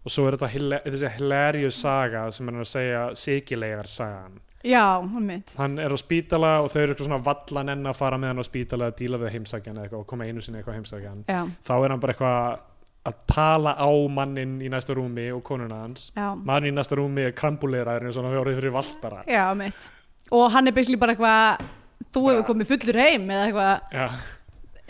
og svo er þetta hila- þessi hilarious saga sem hann er að segja sikilegar sagan já, hann mitt hann er á spítala og þau eru eitthvað svona vallan enn að fara með hann á spítala að díla við heimsækjan eða eitthvað og koma einu sinni eitthvað heimsækjan já, þá er hann bara eitthvað að tala á mannin í næsta rúmi og konuna hans já, maðurinn í næsta rúmi er krambuleraður eins og hann hafi orðið fyrir valtara já mitt og hann er byrjuslega bara eitthvað þú Bara- hefur komið fullur heim eða eitthvað Já.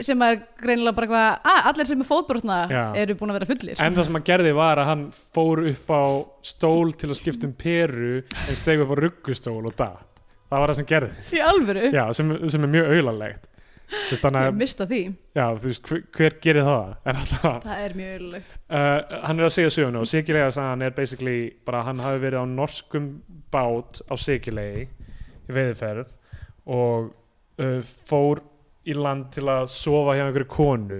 sem er greinilega bara eitthvað að allir sem er fótbrotna Já. eru búin að vera fullir en það sem hann gerði var að hann fór upp á stól til að skipta um peru en steg upp á ruggustól og datt það var það sem gerðist í alvöru, já, sem, sem er mjög auðalegt þú veist, þannig, ég að- mista því já, þú veist hver, hver gerir það en alltaf það er mjög öllögt uh, hann er að segja söguna og Sigilega hann er basically bara að hann hafi verið á norskum bát á Sigilegi í veiðiferð og uh, fór í land til að sofa hjá einhverju konu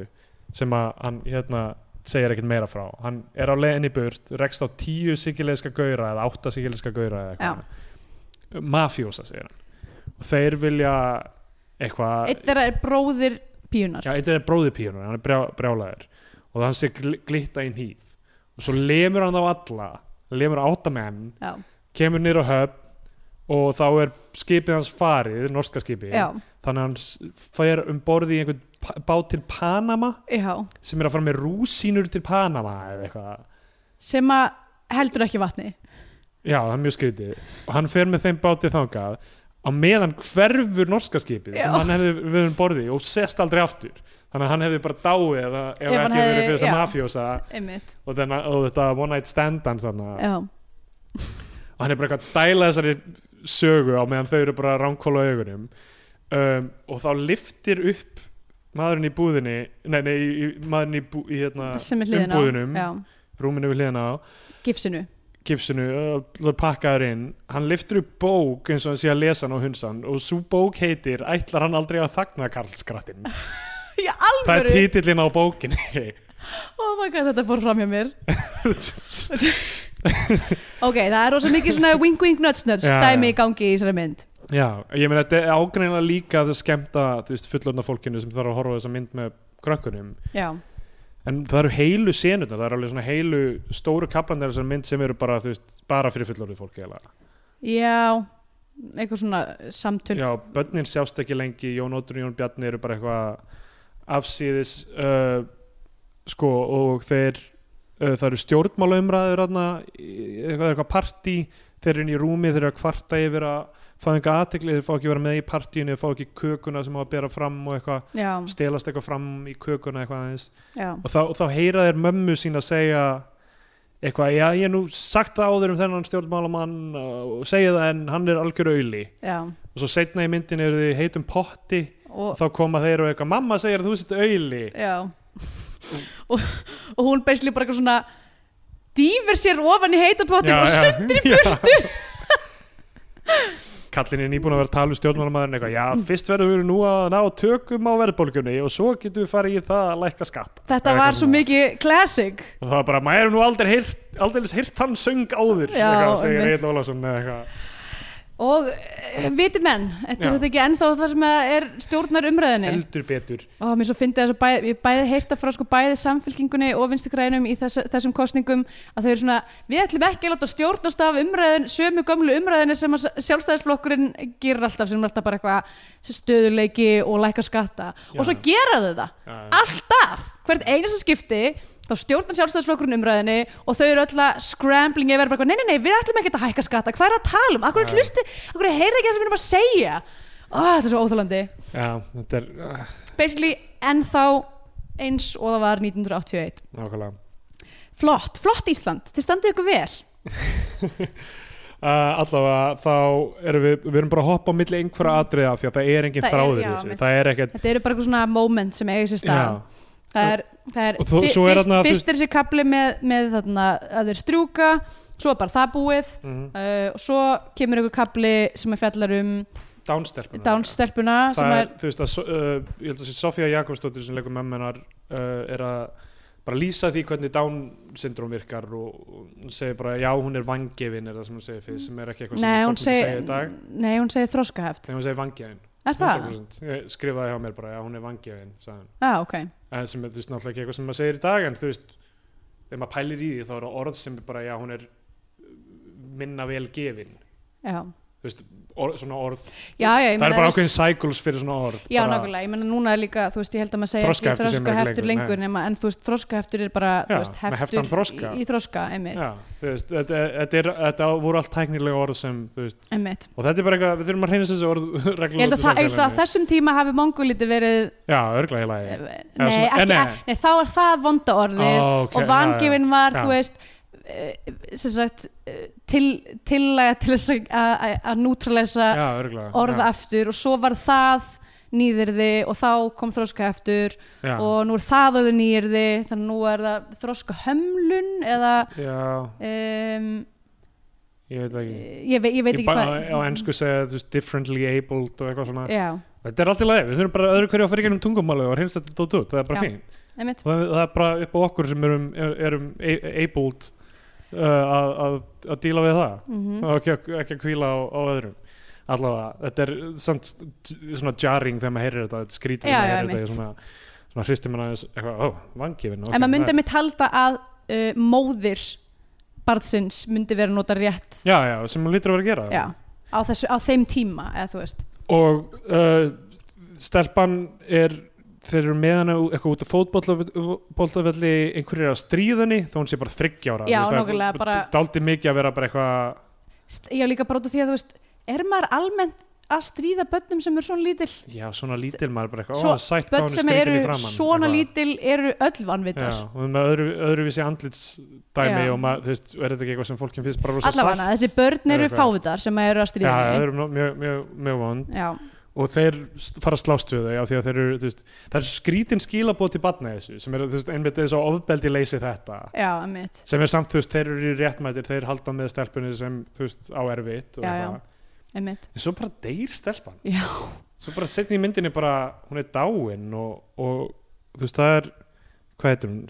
sem að hann hérna segir ekkert meira frá hann er á leiðinni í burt, rekst á tíu sigileiska gaura eða átta sigileiska gaura eða eitthvað mafjósa segir hann og þeir vilja eitthvað eitt þeirra er bróðir píunar Já, eitt er bróði píunar, hann er brjá, brjálæður og hann sé gl- glitta í hýð og svo lemur hann þá alla lemur átta menn, já, kemur nýr á höfn og þá er skipið hans farið norska skipið, já, þannig að hann s- fer um borði í einhvern pa- bát til Panama já. sem er að fara með rúsínur til Panama eða eitthvað, sem að heldur ekki vatni já það er mjög skrítið og hann fer með þeim bátið þangað á meðan hverfur norska skipið sem Já. hann hefði verið um borði og sest aldrei aftur, þannig að hann hefði bara dáið ef, ef, Ef ef hann ekki hefði hefði- verið fyrir þess já. að mafjósa einmitt, og, þenna, og þetta One Night Stand hans þarna já, og hann er bara eitthvað að dæla þessari sögu á meðan þau eru bara ránkóla augunum um, og þá liftir upp maðurinn í búðinni nei, nei, í, í- maðurinn í, bú, í hérna, sem er hliðin á umbúðunum. já, rúminu við hliðina á gifsinu gifsinu, uh, pakkaður inn hann liftir upp bók eins og hann sé að lesa hann og hunsan og svo bók heitir Ætlar hann aldrei að þagna Karlskrattin Í það er alvöru títillin á bókinni Oh my god, þetta fór fram hjá mér Ok, það er rosa mikið svona wink wink nuts nuts Já, já. dæmi í gangi í þessari mynd Já, ég meina þetta er ágreina líka að skemmta þú veist, fullorðna fólkinu sem þarf að horfa á þessa mynd með krökkunum Já, en það eru heilu senurnar, það eru alveg svona heilu stóru kaplanir þessar mynd sem eru bara, þú veist, bara fyrir fullorðið fólki eða. já eitthvað svona samtöl Já, börnin sjást ekki lengi Jón Ótrun, Jón Bjarni eru bara eitthvað afsýðis uh, sko og þeir uh, það eru stjórnmálaumræður þarna, í- eitthvað, eitthvað partí þeir eru inn í rúmi, þeir eru að kvarta yfir að fá enga aðtegli, þeir fá ekki að vera með í partíinu þeir fá ekki kökuna sem á að bera fram og eitthvað Já, stelast eitthvað fram í kökuna eitthvað aðeins já, og þá, þá heyra þeir mömmu sín að segja eitthvað, já ég hef nú sagt það áður um þennan stjórnmálamann uh, og segja það en hann er algjör auðli já og svo setna í myndin eru þið í heitum potti og og, þá koma þeir og eitthvað, mamma segir að þú sitt auðli Já og, og hún beisli bara eitthvað svona dýfur sér ofan í heitapottin og sund sundir í burtu Kallin er nýbúin að vera að tala um stjórnmálamadurinn eitthvað, já, fyrst verðum við nú að ná tökum á verðbólgunni og svo getum við farið í það að lækka skatt Þetta var svo mikið classic og það var bara, maður er nú aldrei heyrt, aldrei heyrt hann söng áður Já, eitthvað, segir einmitt. Egil Ólafsson eða eitthvað og uh, vitir menn, þetta Já. er þetta ekki ennþá það sem að er stjórnar umræðinni heldur betur og mér svo fyndi þess að bæ, ég bæði heyrta frá sko bæði samfélkingunni og vinstigrænum í þess, þessum kostningum að þau eru svona, við ætlum ekki að láta stjórnast af umræðin, sömu gömlu umræðinni sem að sjálfstæðisflokkurinn gerir alltaf sem er alltaf bara eitthvað stöðuleiki og læka skatta Já. og svo gera þau það Já, já. alltaf, hvert einasta skipti þá stjórnar sjálfstæðisflokkurinn umræðinni og þau eru öll að scrambling yfir bara, eitthvað, nei, nei, nei, við ætlum ekki að hækka skatta hvað er að tala um, akkur Já. hlusti, akkur heyrði ekki það sem við erum að segja oh, þetta er svo óþálandi já, þetta er uh, basically ennþá eins og það var 1981 nákvæmlega flott, flott Ísland, þið standið ykkur vel Uh, allavega þá erum við, við erum bara að hoppa á milli einhverja atriða því að það er engin Mm. Það er- þráður í já, þessu, mitt- það er ekkert þetta eru bara eitthvað svona moment sem eiga sér stað já, það er, það er, Og þó- fi- svo er fyrst, þarna- fyrst er þessi kapli með, með þarna, að þeir strjúka svo er bara það búið Mhm. uh, og svo kemur ykkur kapli sem er fjallar um dánstelpuna dánstelpuna sem það er, er, þú veist að so- uh, ég held að sé Sofía Jakobsdóttir sem leikur memmenar uh, er að bara lýsa því hvernig Down syndrom virkar og, og hún segir bara já hún er vangefin er það sem hún segir fyrir sem er ekki eitthvað sem nei, fólk hún myndi segja segir, í dag nei, hún segir þroskaheft þegar hún segir vangefin er það? 100%. Ég skrifaði hjá mér bara já hún er vangefin sagði hann. Já, Ah, ok en Eh, sem er þú veist náttúrulega ekki eitthvað sem maður segir í dag en þú veist þegar maður pælir í því þá eru orð sem er bara já hún er eh, minna vel gefin Já, þú veist orð, svona orð já, já ég það meina, er bara ákveðin cycles fyrir svona orð Já, bara, nákvæmlega, ég menna núna er líka, þú veist, ég held að maður segja Þroskaheftur sem er ekki þroskaheftur lengur, lengur, nei. nema, en þú veist, þroskaheftur er bara, Já, þú veist, með heftur heftan þroska. í, í þroska, einmitt, Já, þú veist, þetta, þetta, er, þetta voru allt tæknilega orð sem, þú veist, einmitt. og þetta er bara eitthvað, við þurfum að hreinast þessi orð Ég reglulega held að, það, ég held að á þessum tíma hafi mongolítið verið, Já, örglega í lagi. nei, Eða svona- ekki, eh, nei. nei. nei, þá er það vonda orðið Ó, Ah, ok, og vangefin var, já. þú veist, eh, sem sagt, eh, til, tillæga til þess að- að að nútralesa Já, já, örglega. orð aftur og svo var það nýðirði og þá kom þroskaheftur já, og nú er það auðvitað nýjirði þannig að nú er það þroska hömlun eða Já, já, um, ég veit það ekki. Eh, ég, ve ég veit Ég ekki ba- hvað Á ennsku segja, þú veist, differently abled og eitthvað svona. já, Þetta er allt í lagi, við þurfum bara öðru hverju að fyrir gennum tungumálið og hreinast þetta dótt út, það er bara Já. fínt. einmitt Og það, það er bara upp á okkur sem erum, erum a- abled uh, að, að, að díla við það. mm og ekki, að- ekki að kvíla á, á öðrum allavega, þetta er samt j- svona jarring þegar maður heyrir þetta þetta er skrítið Já, þegar já, maður heyrir einmitt. þetta ég svona, svona hristir mann aðeins eitthvað, ó, vangifin en maður myndi mitt halda að uh, móðir barðsins myndi vera að nota rétt já, já, sem maður lítur að vera að gera já, á, þessu, á þeim tíma eða þú veist og uh, stelpan er þeir eru með hana ú- eitthvað út af fótbollafelli einhverjir að stríðinni þó hún sé bara þryggjára Já, nákvæmlega, bara- daldi mikið að vera bara eitthvað St- já líka bara út af því að þú veist er maður almennt að stríða börnum sem eru svona lítil já, svona lítil maður bara eitthvað, ó, Svo- sætt hvað hún börn er sem skrítin eru í framann svona eitthvað. lítil eru öll vanvitar Já, og með öðru, öðruvísi andlitsdæmi Já. og maður, þú veist, er þetta ekki eitthvað sem fólkinn finnst bara rosa allavega þessi börn eru fávitar sem eru að Já, stríða það henni. eru mjög, mjög, mjög, mjög vond já, og þeir st- fara að slást við þau af því að þeir eru, þú veist, það er svo skrítin skilabóð til batna þessu, sem eru, þú veist, einmitt þess að ofbeldi leysi þetta, já, einmitt sem er samt, þú veist, þeir eru í réttmætir, þeir halda með stelpunni sem, þú veist, á erfitt og Já, já. eitthvað. einmitt en svo bara deyr stelpan Já. svo bara setni í myndinni bara hún er dáin og, og þú veist það er hvað heitir hún,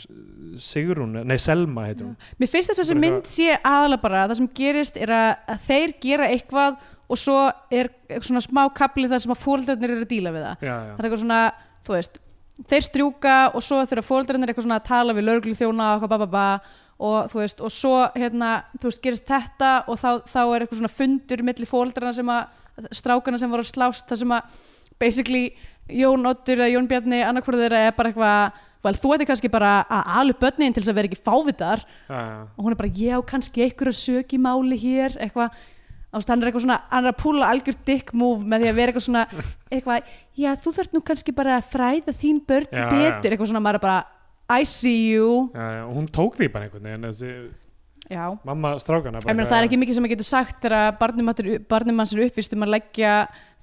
Sigrún nei Selma heitir hún Mér finnst þess að þessi Bara mynd sé aðalega bara að það sem gerist er að, að þeir gera eitthvað og svo er eitthvað svona smá kapli þar sem að fóreldrarnir eru að díla við það. já, já. Það er eitthvað svona, þú veist, þeir strjúka og svo þurfa fóreldrarnir eitthvað svona að tala við lögreglu þjóna og eitthvað bababa og þú veist, og svo hérna, þú veist, gerist þetta og þá, þá er eitthvað svona fundur milli fóreldrarna sem að, strákarna sem voru að slást þar sem að basically Jón Oddur eða Jón Bjarni annarkvörður er bara eitthvað, vel, þú ætti kannski bara að alu börnin til þess að vera ekki fávitar Já, já. og hún er bara, já, kannski einhverju sök í máli hér, eitthvað Þú veist, hann er eitthvað svona, hann er að púla algjör dick move með því að vera eitthvað svona eitthvað, já, þú þarf nú kannski bara að fræða þín börn Já, betur, já. eitthvað svona, maður er bara I see you, Já, já, og hún tók því bara einhvern veginn þessi já mamma strákana bara Ég meina, eitthvað, það er ekki mikið sem maður getur sagt þegar barnum, barnum hans er uppvist um að leggja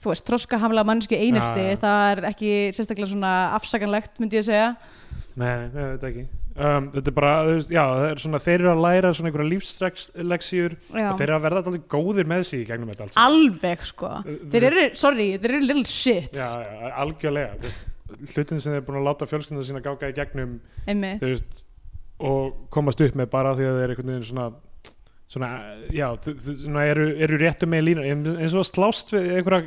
þú veist, troskahamla mannsku einelti Já, já. það er ekki sérstaklega svona afsakanlegt, myndi ég að segja Nei, nei, þetta ekki um, Þetta er bara, þú veist, já, það er svona þeir eru að læra svona einhverja lífsleksjur Já. og þeir eru að verða alltaf góðir með sig í gegnum þetta allt saman. alveg, sko Þú þeir eru, sorry, þeir eru little shit Já, já, algjörlega, þú veist hlutin sem þeir eru búin að láta fjölskyldur sína gáka í gegnum einmitt þú veist, og komast upp með bara af því að þeir eru einhvern veginn svona svona, já, þú- þú- svona eru, eru réttu með lína, eins og að slást við einhverja,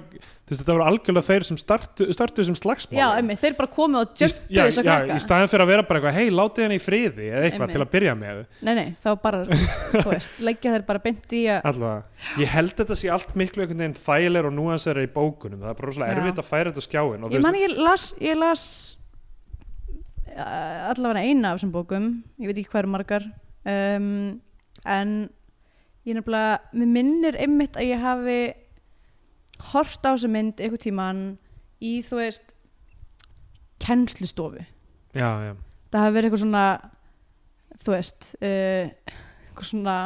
þú veist, þetta voru algjörlega þeir sem startu, startu sem slagsmál Já, einmitt, þeir bara komið og Í st- já, jumpuðu þess já, að í krakka staðin fyrir að vera bara eitthvað hei, látið henni í friði eða eitthvað Einmitt. til að byrja með Nei, nei, þá bara, þú veist, leggja þeir bara beint í að allavega, ég held þetta sé allt miklu einhvern veginn þægilegur og núansera í bókunum það er bara rosalega Já. erfitt að færa þetta á skjáin og þú Ég man veist, ég las, ég las uh, allavega eina af þessum bókum ég veit ekki hverju margar um, en ég nefnilega, mér minnir einmitt að ég hafi hort á þessa mynd einhvern tíman í, þú veist kennslustofu já, já, það hafi verið eitthvað svona þú veist uh, eitthvað svona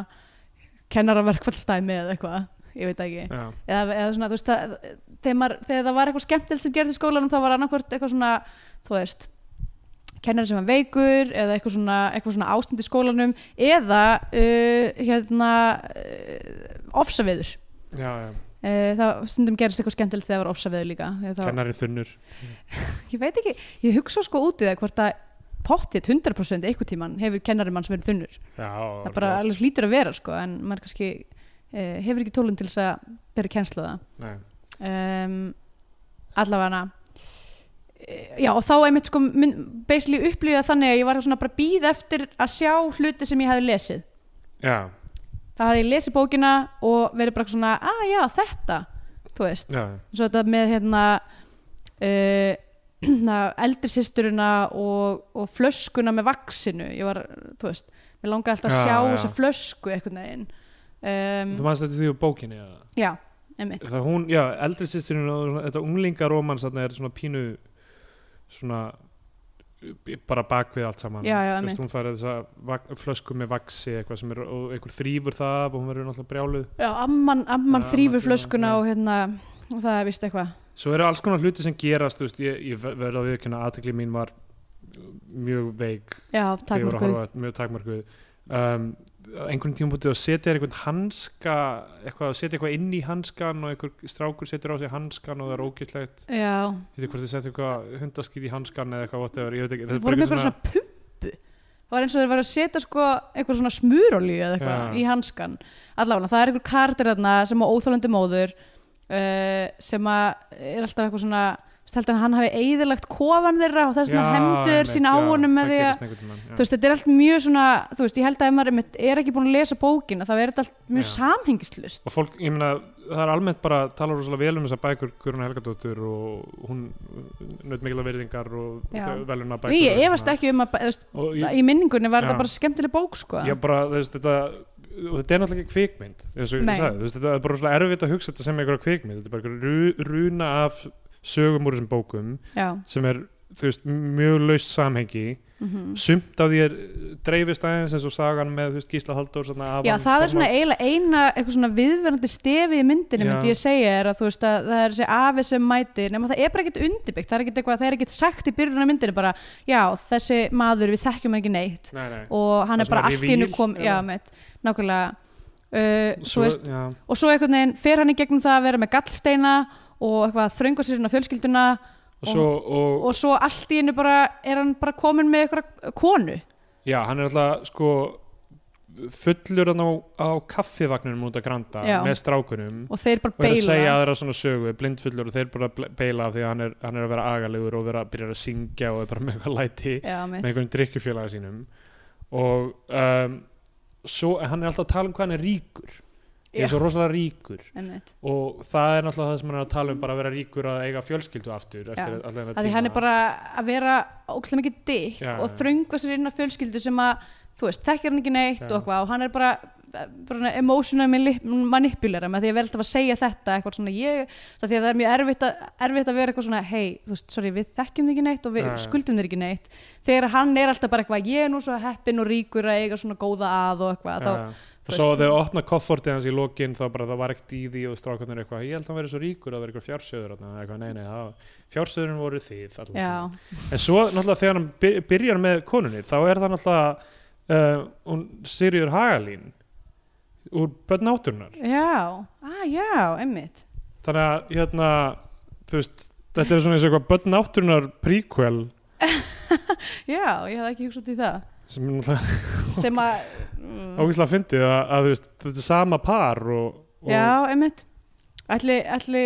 kennaraverkvallstæmi eða eitthvað, ég veit það ekki já, eða, eða svona, þú veist, það, þegar, maður, þegar það var eitthvað skemmtilegt sem gerði í skólanum þá var annarkvört eitthvað svona, þú veist kennari sem var veikur eða eitthvað svona, eitthvað svona ástand í skólanum eða uh, hérna uh, ofsaveður já, já. Uh, það stundum gerist eitthvað skemmtilegt þegar það var ofsaveður líka Þegar það, kennari þunnur ég veit ekki, ég hugsa sko út í það hvort að pottið 100% einhvern tíman hefur kennari mann sem verið þunnur já, það bara alveg hlýtur að vera sko en maður kannski uh, hefur ekki tólun til þess að bera kennslu á það Nei. um, allavega já og þá einmitt sko minn- basically upplýða þannig að ég var svona bara býð eftir að sjá hluti sem ég hefði lesið já, þá hafði ég lesið bókina og verið bara svona að já þetta, þú veist já, svo þetta með hérna uh, na, eldri systurina og, og flöskuna með vaksinu ég var, þú veist, mér langaði alltaf að Já, sjá já. þessa flösku eitthvað neginn um, þú mannst þetta því úr bókinni ja. já, einmitt það hún, já, eldri sýsturinn og svona- þetta unglingaróman þarna er svona pínu svona bara bak við allt saman Já, já, Þú einmitt. veist, hún fær þessa vak- flösku með vaksi eitthvað sem er, og einhver þrýfur það og hún verður náttúrulega brjáluð já, amman, amman Já, amman þrýfur flöskuna þrífur, já. og hérna og það er vist eitthvað Svo eru alls konar hluti sem gerast þú veist, ég, ég ver- verð að viðkynna aðtekli mín var mjög veik Já, þegar ég var að takmörkuð. horfa á- mjög takmarkuð um, á einhvern tíma bútið að setja þér einhvern hanska eitthvað, setja eitthvað inn í hanskan og einhver strákur setur á sig hanskan og það er ógislegt Já, ég veit ekki hvort þið setja eitthvað hundaskýt í hanskan eða eitthvað whatever, ég veit ekki, þetta það er voru bara með eitthvað svona pumpu. Það var eins og þeir var að setja sko eitthvað svona smurolíu eða eitthvað Já. í hanskan. Allána, það er einhver kardir þarna sem á óþólandi móður uh, sem að er alltaf eitthvað svona þú veist, heldur hann hann hafi eigðilegt kofan þeirra og það er svona Já, hemdur einmitt, sín á já, honum með það því að gerist einhvern tímann, já. þú veist, þetta er allt mjög svona þú veist, ég held að ef maður einmitt er ekki búin að lesa bókina þá er þetta allt mjög Já. samhengislust og fólk, ég meina, það er almennt bara talar rosalega vel um þessar bækur Guðrún Helgadóttur og hún naut mikilvæg verðingar og Já. veluna og bækur ég efast ekki um að þú veist, og ég, í minningunni var Já. þetta bara skemmtileg bók sko. ég bara, þú veist, þetta og þetta er náttúrulega ekki kvikmynd eins og Nei. ég sagði, þú veist, þetta er bara svona erfitt að hugsa þetta sem einhverja kvikmynd, þetta er bara einhverja ru, runa af sögum úr þessum bókum Já. sem er, þú veist, mjög laust samhengi, mhm. sumt af því er dreifist aðeins eins og sagan með, þú veist, Gísla Halldór svona, af Já, hann það kom er svona að- eiginlega eina eitthvað svona viðverandi stefi í myndinu Já. myndi ég segja er að þú veist að það er þessi afi sem mætir nema það er bara ekkert undirbyggt, það er ekkert eitthvað það er ekkert sagt í byrjunum myndinu bara já, þessi maður við þekkjum hann ekki neitt Nei, nei. og hann Það er sem bara er allt í hennu reveal, kom já, já. mitt, nákvæmlega uh, svo, Svo, veist, já, og svo einhvern veginn fer hann í gegnum það að vera með gallsteina og eitthvað þröngur sér inn á fjölskylduna og svo, og, og svo allt í einu bara er hann bara komin með eitthvað konu já, hann er alltaf sko fullur hann á, á kaffivagninum út að granda Já. með strákunum og þeir bara og er að beila segja aðra svona sögu blindfullur og þeir bara ble- beila af því að hann er, hann er að vera agalegur og vera, byrjar að syngja og er bara með eitthvað læti Já, með mitt. einhverjum drikkjufélaga sínum og um, svo, hann er alltaf að tala um hvað hann er ríkur ég Já. er svo rosalega ríkur einmitt. og það er náttúrulega það sem hann er að tala um bara að vera ríkur að eiga fjölskyldu aftur eftir allan þennan að því tíma. hann er bara að vera ókslega mikið dykk Já, og já. þröngur sér inn á fjölskyldu sem að þú veist, þekkir hann ekki neitt Já. og eitthvað og hann er bara, bara emotional manipulera með því að vera alltaf að segja þetta eitthvað svona ég, það því að það er mjög erfitt að, erfitt að vera eitthvað svona hei, þú veist, sorry, við þekkjum þig ekki neitt og við Já, já. skuldum þig ekki neitt þegar hann er alltaf bara eitthvað, ég er nú svo heppin og ríkur að eiga svona góða að og eitthvað þá, ja. þú og svo veist- þegar opna koffortið hans í lokin þá bara það var ekkert í því og strákarnir eru eitthvað ég held að hann verið svo ríkur að vera eitthvað fjársöður þarna," eitthvað, nei, nei, það, fjársöðurinn voru þið allan já, tímann." en svo náttúrulega þegar hann by- byrjar með konunni þá er það náttúrulega uh, hún Sirjur Hagalín úr börn átturnar já, ah, já, einmitt þannig að hérna, þú veist þetta er svona eins og eitthvað börn átturnar prequel já, ég hafði ekki hugsað út í það sem er náttúrulega sem að, mm, ógæslega fyndið að, að þú veist, þetta er sama par og, og Já, einmitt Ætli, ætli,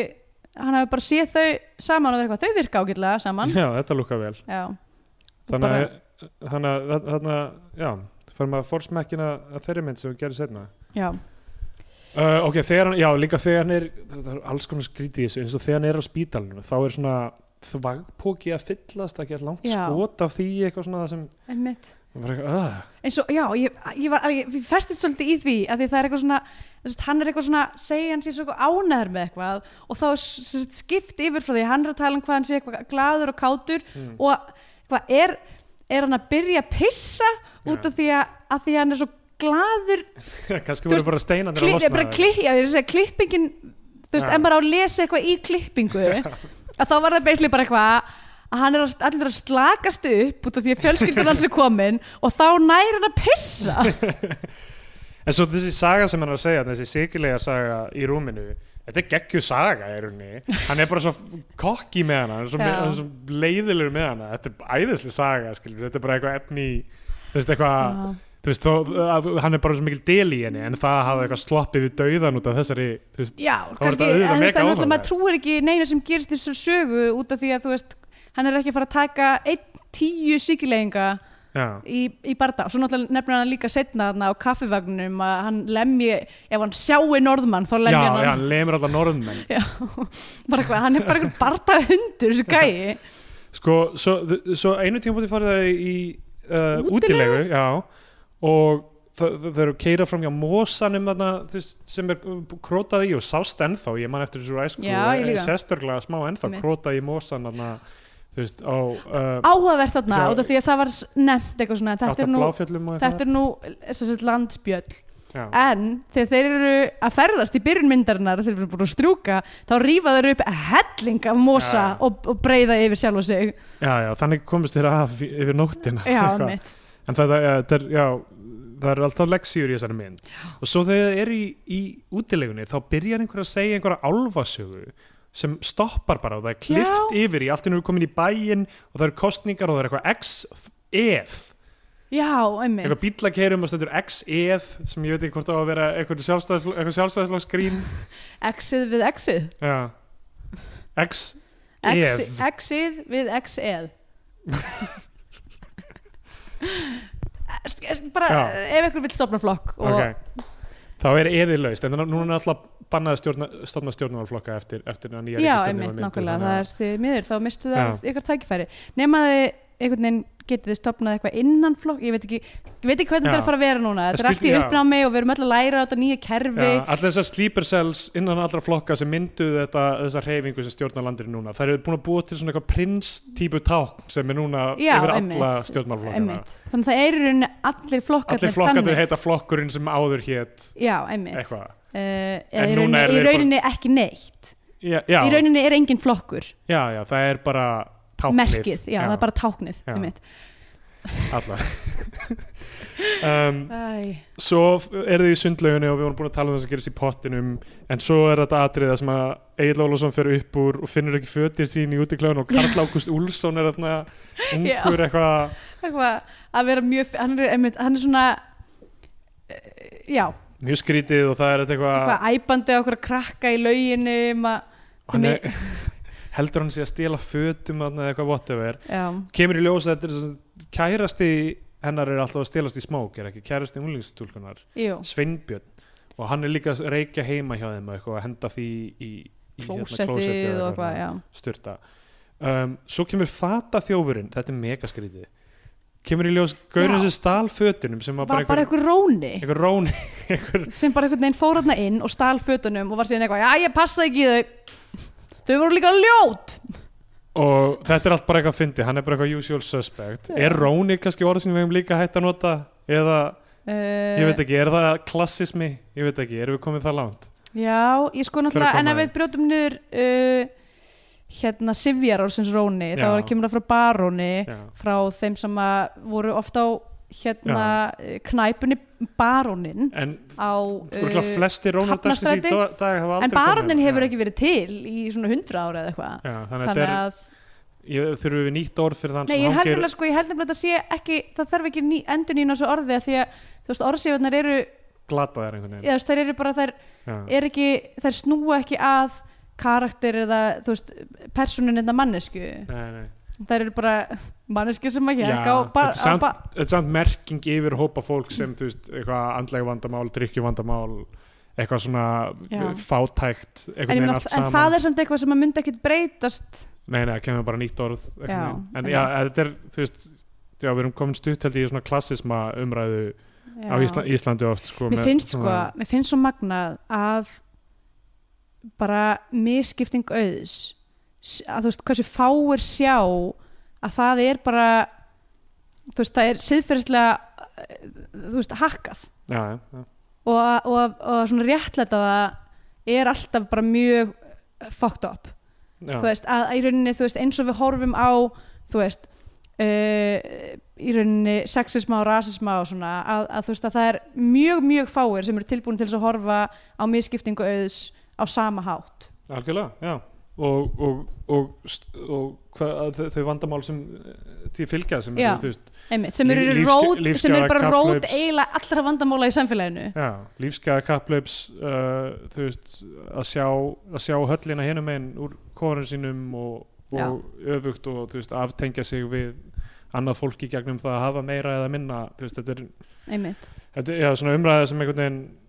hann hafi bara séð þau saman og verið eitthvað, þau virka ágætlega saman já, þetta lúka vel Já, þannig að þannig að þa- þannig að já fyrir maður að fórsmekkina að þeirri mynd sem við gerum setna já, uh, ok, þegar hann, já, líka þegar hann er það er alls konar skrítið í þessu, eins og þegar hann er á spítalinu þá er svona þvagpóki að fyllast að gera langt Já. skot af því eitthvað svona sem einmitt bara, eitthvað, uh, eins og, já, ég, ég, var, ég, ég festist svolítið í því að því það er eitthvað svona þess, hann er eitthvað svona, segja hann sé svo ánæður með eitthvað og þá er s- s- s- skipt yfir frá því, hann er að tala um hvað hann sé eitthvað glaður og kátur Mm. og hvað er, er hann að byrja að pissa út Já. af því að, að því að hann er svo glaður kannski Þú voru veist, bara steinandir að klipp, losna bara klipp, já, ég er að segja klippingin þú veist, Já. en bara á að lesa eitthvað í klippingu að þá var það beisli bara eitthvað að hann er að, allir að slakast upp út af því að fjölskyldan hans er komin og þá nær hann að pissa en svo þessi saga sem hann er að segja þessi sikilega saga í rúminu þetta er geggju saga í rauninni hann er bara svo kokki með hana hann er svo, með, Já. hann er svo leiðilegur með hana þetta er æðisli saga, skilur, þetta er bara eitthvað efni í- þú veist, eitthvað þú veist, þó, að, hann er bara svo mikil del í henni en það að hafa eitthvað sloppið við dauðan út af þessari, þú veist, já, var kannski, þetta auðvitað en þú veist, mega en alltaf óþarflega. maður trúir ekki neina sem gerist í þessu sögu út af því að þú veist, hann er ekki að fara að taka einn tíu síkileginga já, í, í barða og svo náttúrulega nefnir hann líka setna þarna á kaffivagnum að hann lemji, ef hann sjái norðmann þá já, lemji hann já, hann lemur alltaf norðmenn Já, bara hvað, hann er bara einhver barda hundur þessi gæi sko, svo, svo einu tíma búið farið það í uh, Útilegu? útilegu, já og þau þau- þau eru keira fram hjá mosanum þarna, þú veist, sem er uh, krótað í og sást ennþá, ég man eftir þessu ræsku Já, ég líka. sestörglega smá ennþá Einmitt. krótað í mosan þarna, þú veist, á uh, áhugavert þarna, Já. út af því að það var s- nefnt eitthvað svona, þetta er nú, bláfjöllum og þetta er nú sem sagt, landsbjöll, já. en þegar þeir eru að ferðast í byrjun myndarinnar þeir eru búin að strjúka, þá rífa þeir upp helling af mosa Já. og, og breyða yfir sjálfa sig, já, já, þannig komist þér af í- yfir nóttina já, Eitthvað. mitt En það, það, það, er, já, það er alltaf leksíur í þessari mynd og svo þegar það er í, í útilegunni þá byrjar einhver að segja einhverja álfasögu sem stoppar bara og það er klift yfir í allt innum við komin í bæinn og það eru kostningar og það er eitthvað XEF já, einmitt, eitthvað bílakeirum og stendur XEF sem ég veit ekki hvort á að vera eitthvað sjálfstæðisflokk eitthvað sjálfstæðisflokksgrín exið við exið Já. X Exi- exið við exið bara, Já. ef einhver vil stopna flokk og ok Þá er eðilaust, en þannig- núna er alltaf bannað að stjórna, stofna stjórnmálflokka eftir, eftir að nýja Já, ríkisstjórnin var einmitt, mynduð, nákvæmlega, þannig það að- er því miður þá mistu það af ykkar tækifæri nema að þið einhvern veginn getið þið stopnað eitthvað innan flokk ég veit ekki, ég veit ekki hvernig Já. þetta er að fara að vera núna Það þetta er allt í skildi- já. uppnámi og við erum öll að læra á þetta nýja kerfi Já, allir þessar sleeper cells innan allra flokka sem mynduðu þetta, þessar hreyfingu sem stjórnar landinu núna, þær eru búin að búa til svona eitthvað prins típu tákn sem er núna Já, yfir einmitt, alla stjórnmálflokkana einmitt, þannig að það er í rauninni allir flokkarnir allir flokkarnir heita flokkurinn sem áður hétt já, einmitt uh, eitthvað eða En í núna rauninni, eru í þeir rauninni ekki neitt já, já, í rauninni er engin flokkur já, já, það er bara táknið merkið, já, það er bara táknið Já. einmitt. alla um, Æ, svo f- er þið í sundlaugunni og við vorum búin að tala um það sem gerist í pottinum en svo er þetta atriða sem að Egil Ólafsson fer upp úr og finnur ekki fötir sín í útiklæðun og Karl Ágúst Úlfsson er þarna Já. ungur eitthvað eitthvað að vera mjög hann er, einmitt, hann er svona eh, já, mjög skrítið og það er þetta eitthvað eitthvað æpandi á okkur að krakka í lauginu um að, Ah. hann er, heldur hann sé að stela fötum þarna eða eitthvað whatever já, kemur í ljós að þetta er svo- kærasti hennar er alltaf að stelast í smók er ekki kærasti unglingstúlkunar jú Sveinbjörn og hann er líka að reykja heima hjá þeim og eitthvað, að henda því í, í hérna klósettið og eitthvað, já styrta um, svo kemur fata þjófurinn þetta er megaskrítið kemur í ljós gaurinn Já. sem stál fötunum sem var var bara bara einhver, einhver róni einhver rón einhver, sem bara einhvern veginn fór hérna inn og stal fötunum og var síðan eitthvað, já ég passa ekki í þau þau voru líka ljót og þetta er allt bara eitthvað fyndi hann er bara eitthvað usual suspect Já. er róni kannski orð sem við hefum líka hægt að nota eða uh, ég veit ekki, er það klassismi ég veit ekki, erum við komið það langt Já, ég sko Þegar náttúrulega, kom en ef að við brjótum niður uh, hérna Sivjar ársins Róni, þá Já. var kemur það frá Baróni Já. frá þeim sem að voru ofta á hérna Já. knæpunni Barónin en á eh, uh, flesti rónar dagsins í Hafnarstræti. dag, dag hafa aldrei en Barónin komið. hérna. Já. hefur ekki verið til í svona hundra ára eða eitthvað Já, þannig, þannig að, að, þetta er, ég, þurfum við nýtt orð fyrir þann nei sem ég held hangir nefnilega sko ég held nefnilega að þetta sé ekki, það þarf ekki ný, endur nýna svo orði að því að þú veist orðsífarnar eru, glataðar einhvern eða þú veist þær eru bara þær veginn Já. er ekki, þær snúa ekki að karakter eða þú veist personin eða mannesku Nei, nei. þær eru bara mannesku sem ekki Já, hekka á bar- þetta er samt- á ba- Þetta er samt merking yfir hópa fólk sem þú veist, eitthvað andlega vandamál, drykkjuvandamál eitthvað svona Já. fátækt en, einhvern ég veginn meina, allt en saman það er samt eitthvað sem að myndi ekkit breytast Nei, nei, það kemur bara nýtt orð einhvern Já, veginn. En einmitt. já, þetta er, þú veist Já, við erum komin stutt held ég í svona klassisma umræðu Já. á Ísla, Íslandi oft sko, mér með finnst sko, svona- mér finnst svo magnað að bara misskipting auðs s- að þú veist hversu fáir sjá að það er bara þú veist það er siðferðislega eh, þú veist hakkað Já, já, og, og, og svona réttlæta það er alltaf bara mjög fucked up já, þú veist, að, að í rauninni, þú veist, eins og við horfum á þú veist uh, í rauninni sexisma og rasisma og svona, að, að þú veist að það er mjög, mjög fáir sem eru tilbúin til þess að horfa á miskiptingu auðs á sama hátt algjörlega, já og, og, og, st- og hvað, þau vandamál sem eh, því fylgja sem Já. eru, þú veist, Einmitt, sem eru Líf- lífsgæ- rót, sem eru bara lífsgæða, rót kapphlaups. eiginlega allra vandamóla í samfélaginu já, lífsgæða kapplaups uh, þú veist, að sjá að sjá höllina hinum einn úr konur sínum og, Já. og öfugt og þú veist, aftengja sig við annað fólk í gegnum það að hafa meira eða minna, þú veist, þetta er einmitt, Þetta er já, svona umræða sem einhvern veginn þú-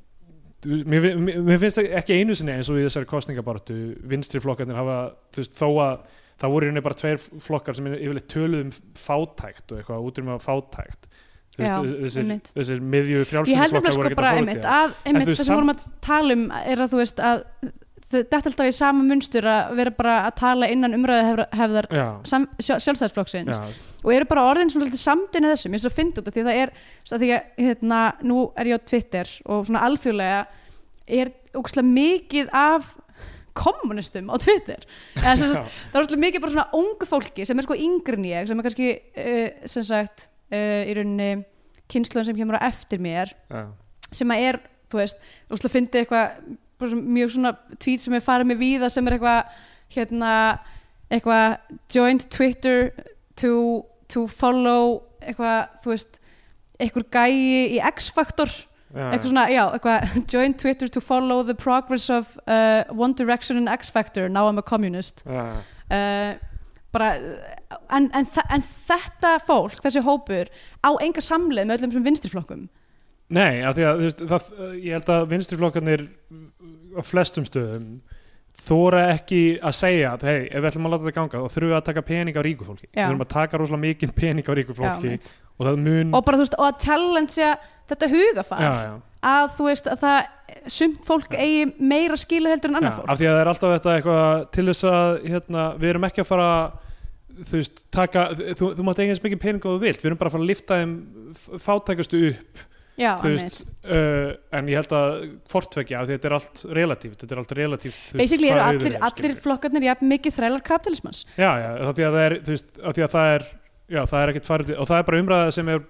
Mér, fin- mér, mér finnst það ekki einu sinni eins og í þessari kostningabartu vinstri flokkarnir hafa, þú veist, þó að það voru í rauninni bara tveir flokkar sem yfirleitt töluðu um fátækt og eitthvað út um að fátækt Þú Já, veist, þessir, einmitt. þessir miðju ég heldur frjálskylduflokkar með sko voru ekki bara að einmitt, fóra að, þau einmitt það sem samt- vorum að tala um er að þú veist að þau- þetta er alltaf í sama munstur að vera bara að tala innan umræðahefðar Já, sjálfstæðsflokksins já, og eru bara orðin svona svolítið samdina þessu mér finnst það fyndi út af því að það er að því að hérna, nú er ég á Twitter og svona alþjóðlega er ógustlega mikið af kommunistum á Twitter Eða, sem já, sagt, það er ógustlega mikið bara svona ungu fólki sem er sko yngri en ég sem er kannski uh, sem sagt uh, í rauninni kynsluðan sem kemur á eftir mér já, sem að er, þú veist, úrslega fyndi eitthvað bara svona- mjög svona tweet sem er farið með víða sem er eitthvað hérna, eitthvað joined Twitter to, to follow eitthvað, þú veist einhver gæi í X-faktor já, eitthvað svona, já, eitthvað joined Twitter to follow the progress of uh, One Direction and X-Factor, now I'm a communist já, uh, bara en, en, þa- en þetta fólk, þessi hópur á enga samleið með öllum sem vinstriflokkum Nei, af því að þú veist, það, ég held að vinstriflokkarnir á flestum stöðum þóra ekki að segja að hei, ef við ætlum að láta þetta ganga þá þurfum við að taka pening á ríku fólki Já. við þurfum að taka rosalega mikið pening á ríku fólki mitt. og það mun og bara þú veist og að challengea þetta hugafar Mm. já, já, að þú veist að það sumt fólk eigi meira skila heldur en já, annað af fólk því að það er alltaf þetta eitthvað til þess að hérna, við erum ekki að fara þú veist, taka, þú, þú mátt eigin eins mikið pening og þú vilt, við erum bara að fara að lifta þeim f- fátækustu upp já, þú veist, uh, en ég held að fortvekja að þetta er allt relatíft þetta er allt relatíft þú veist, basically eru hvað auður allir, er, skilurðu. allir flokkarnir jafn mikið þrælar kapitalismans Já, já, af því að það er, þú veist, af því að það er já, það er ekkert farið og það er bara umræða sem er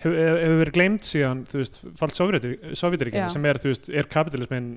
hefur hef verið gleymt síðan, þú veist, falt Já. sovjetiríkinn sem er, þú veist, er kapitalismin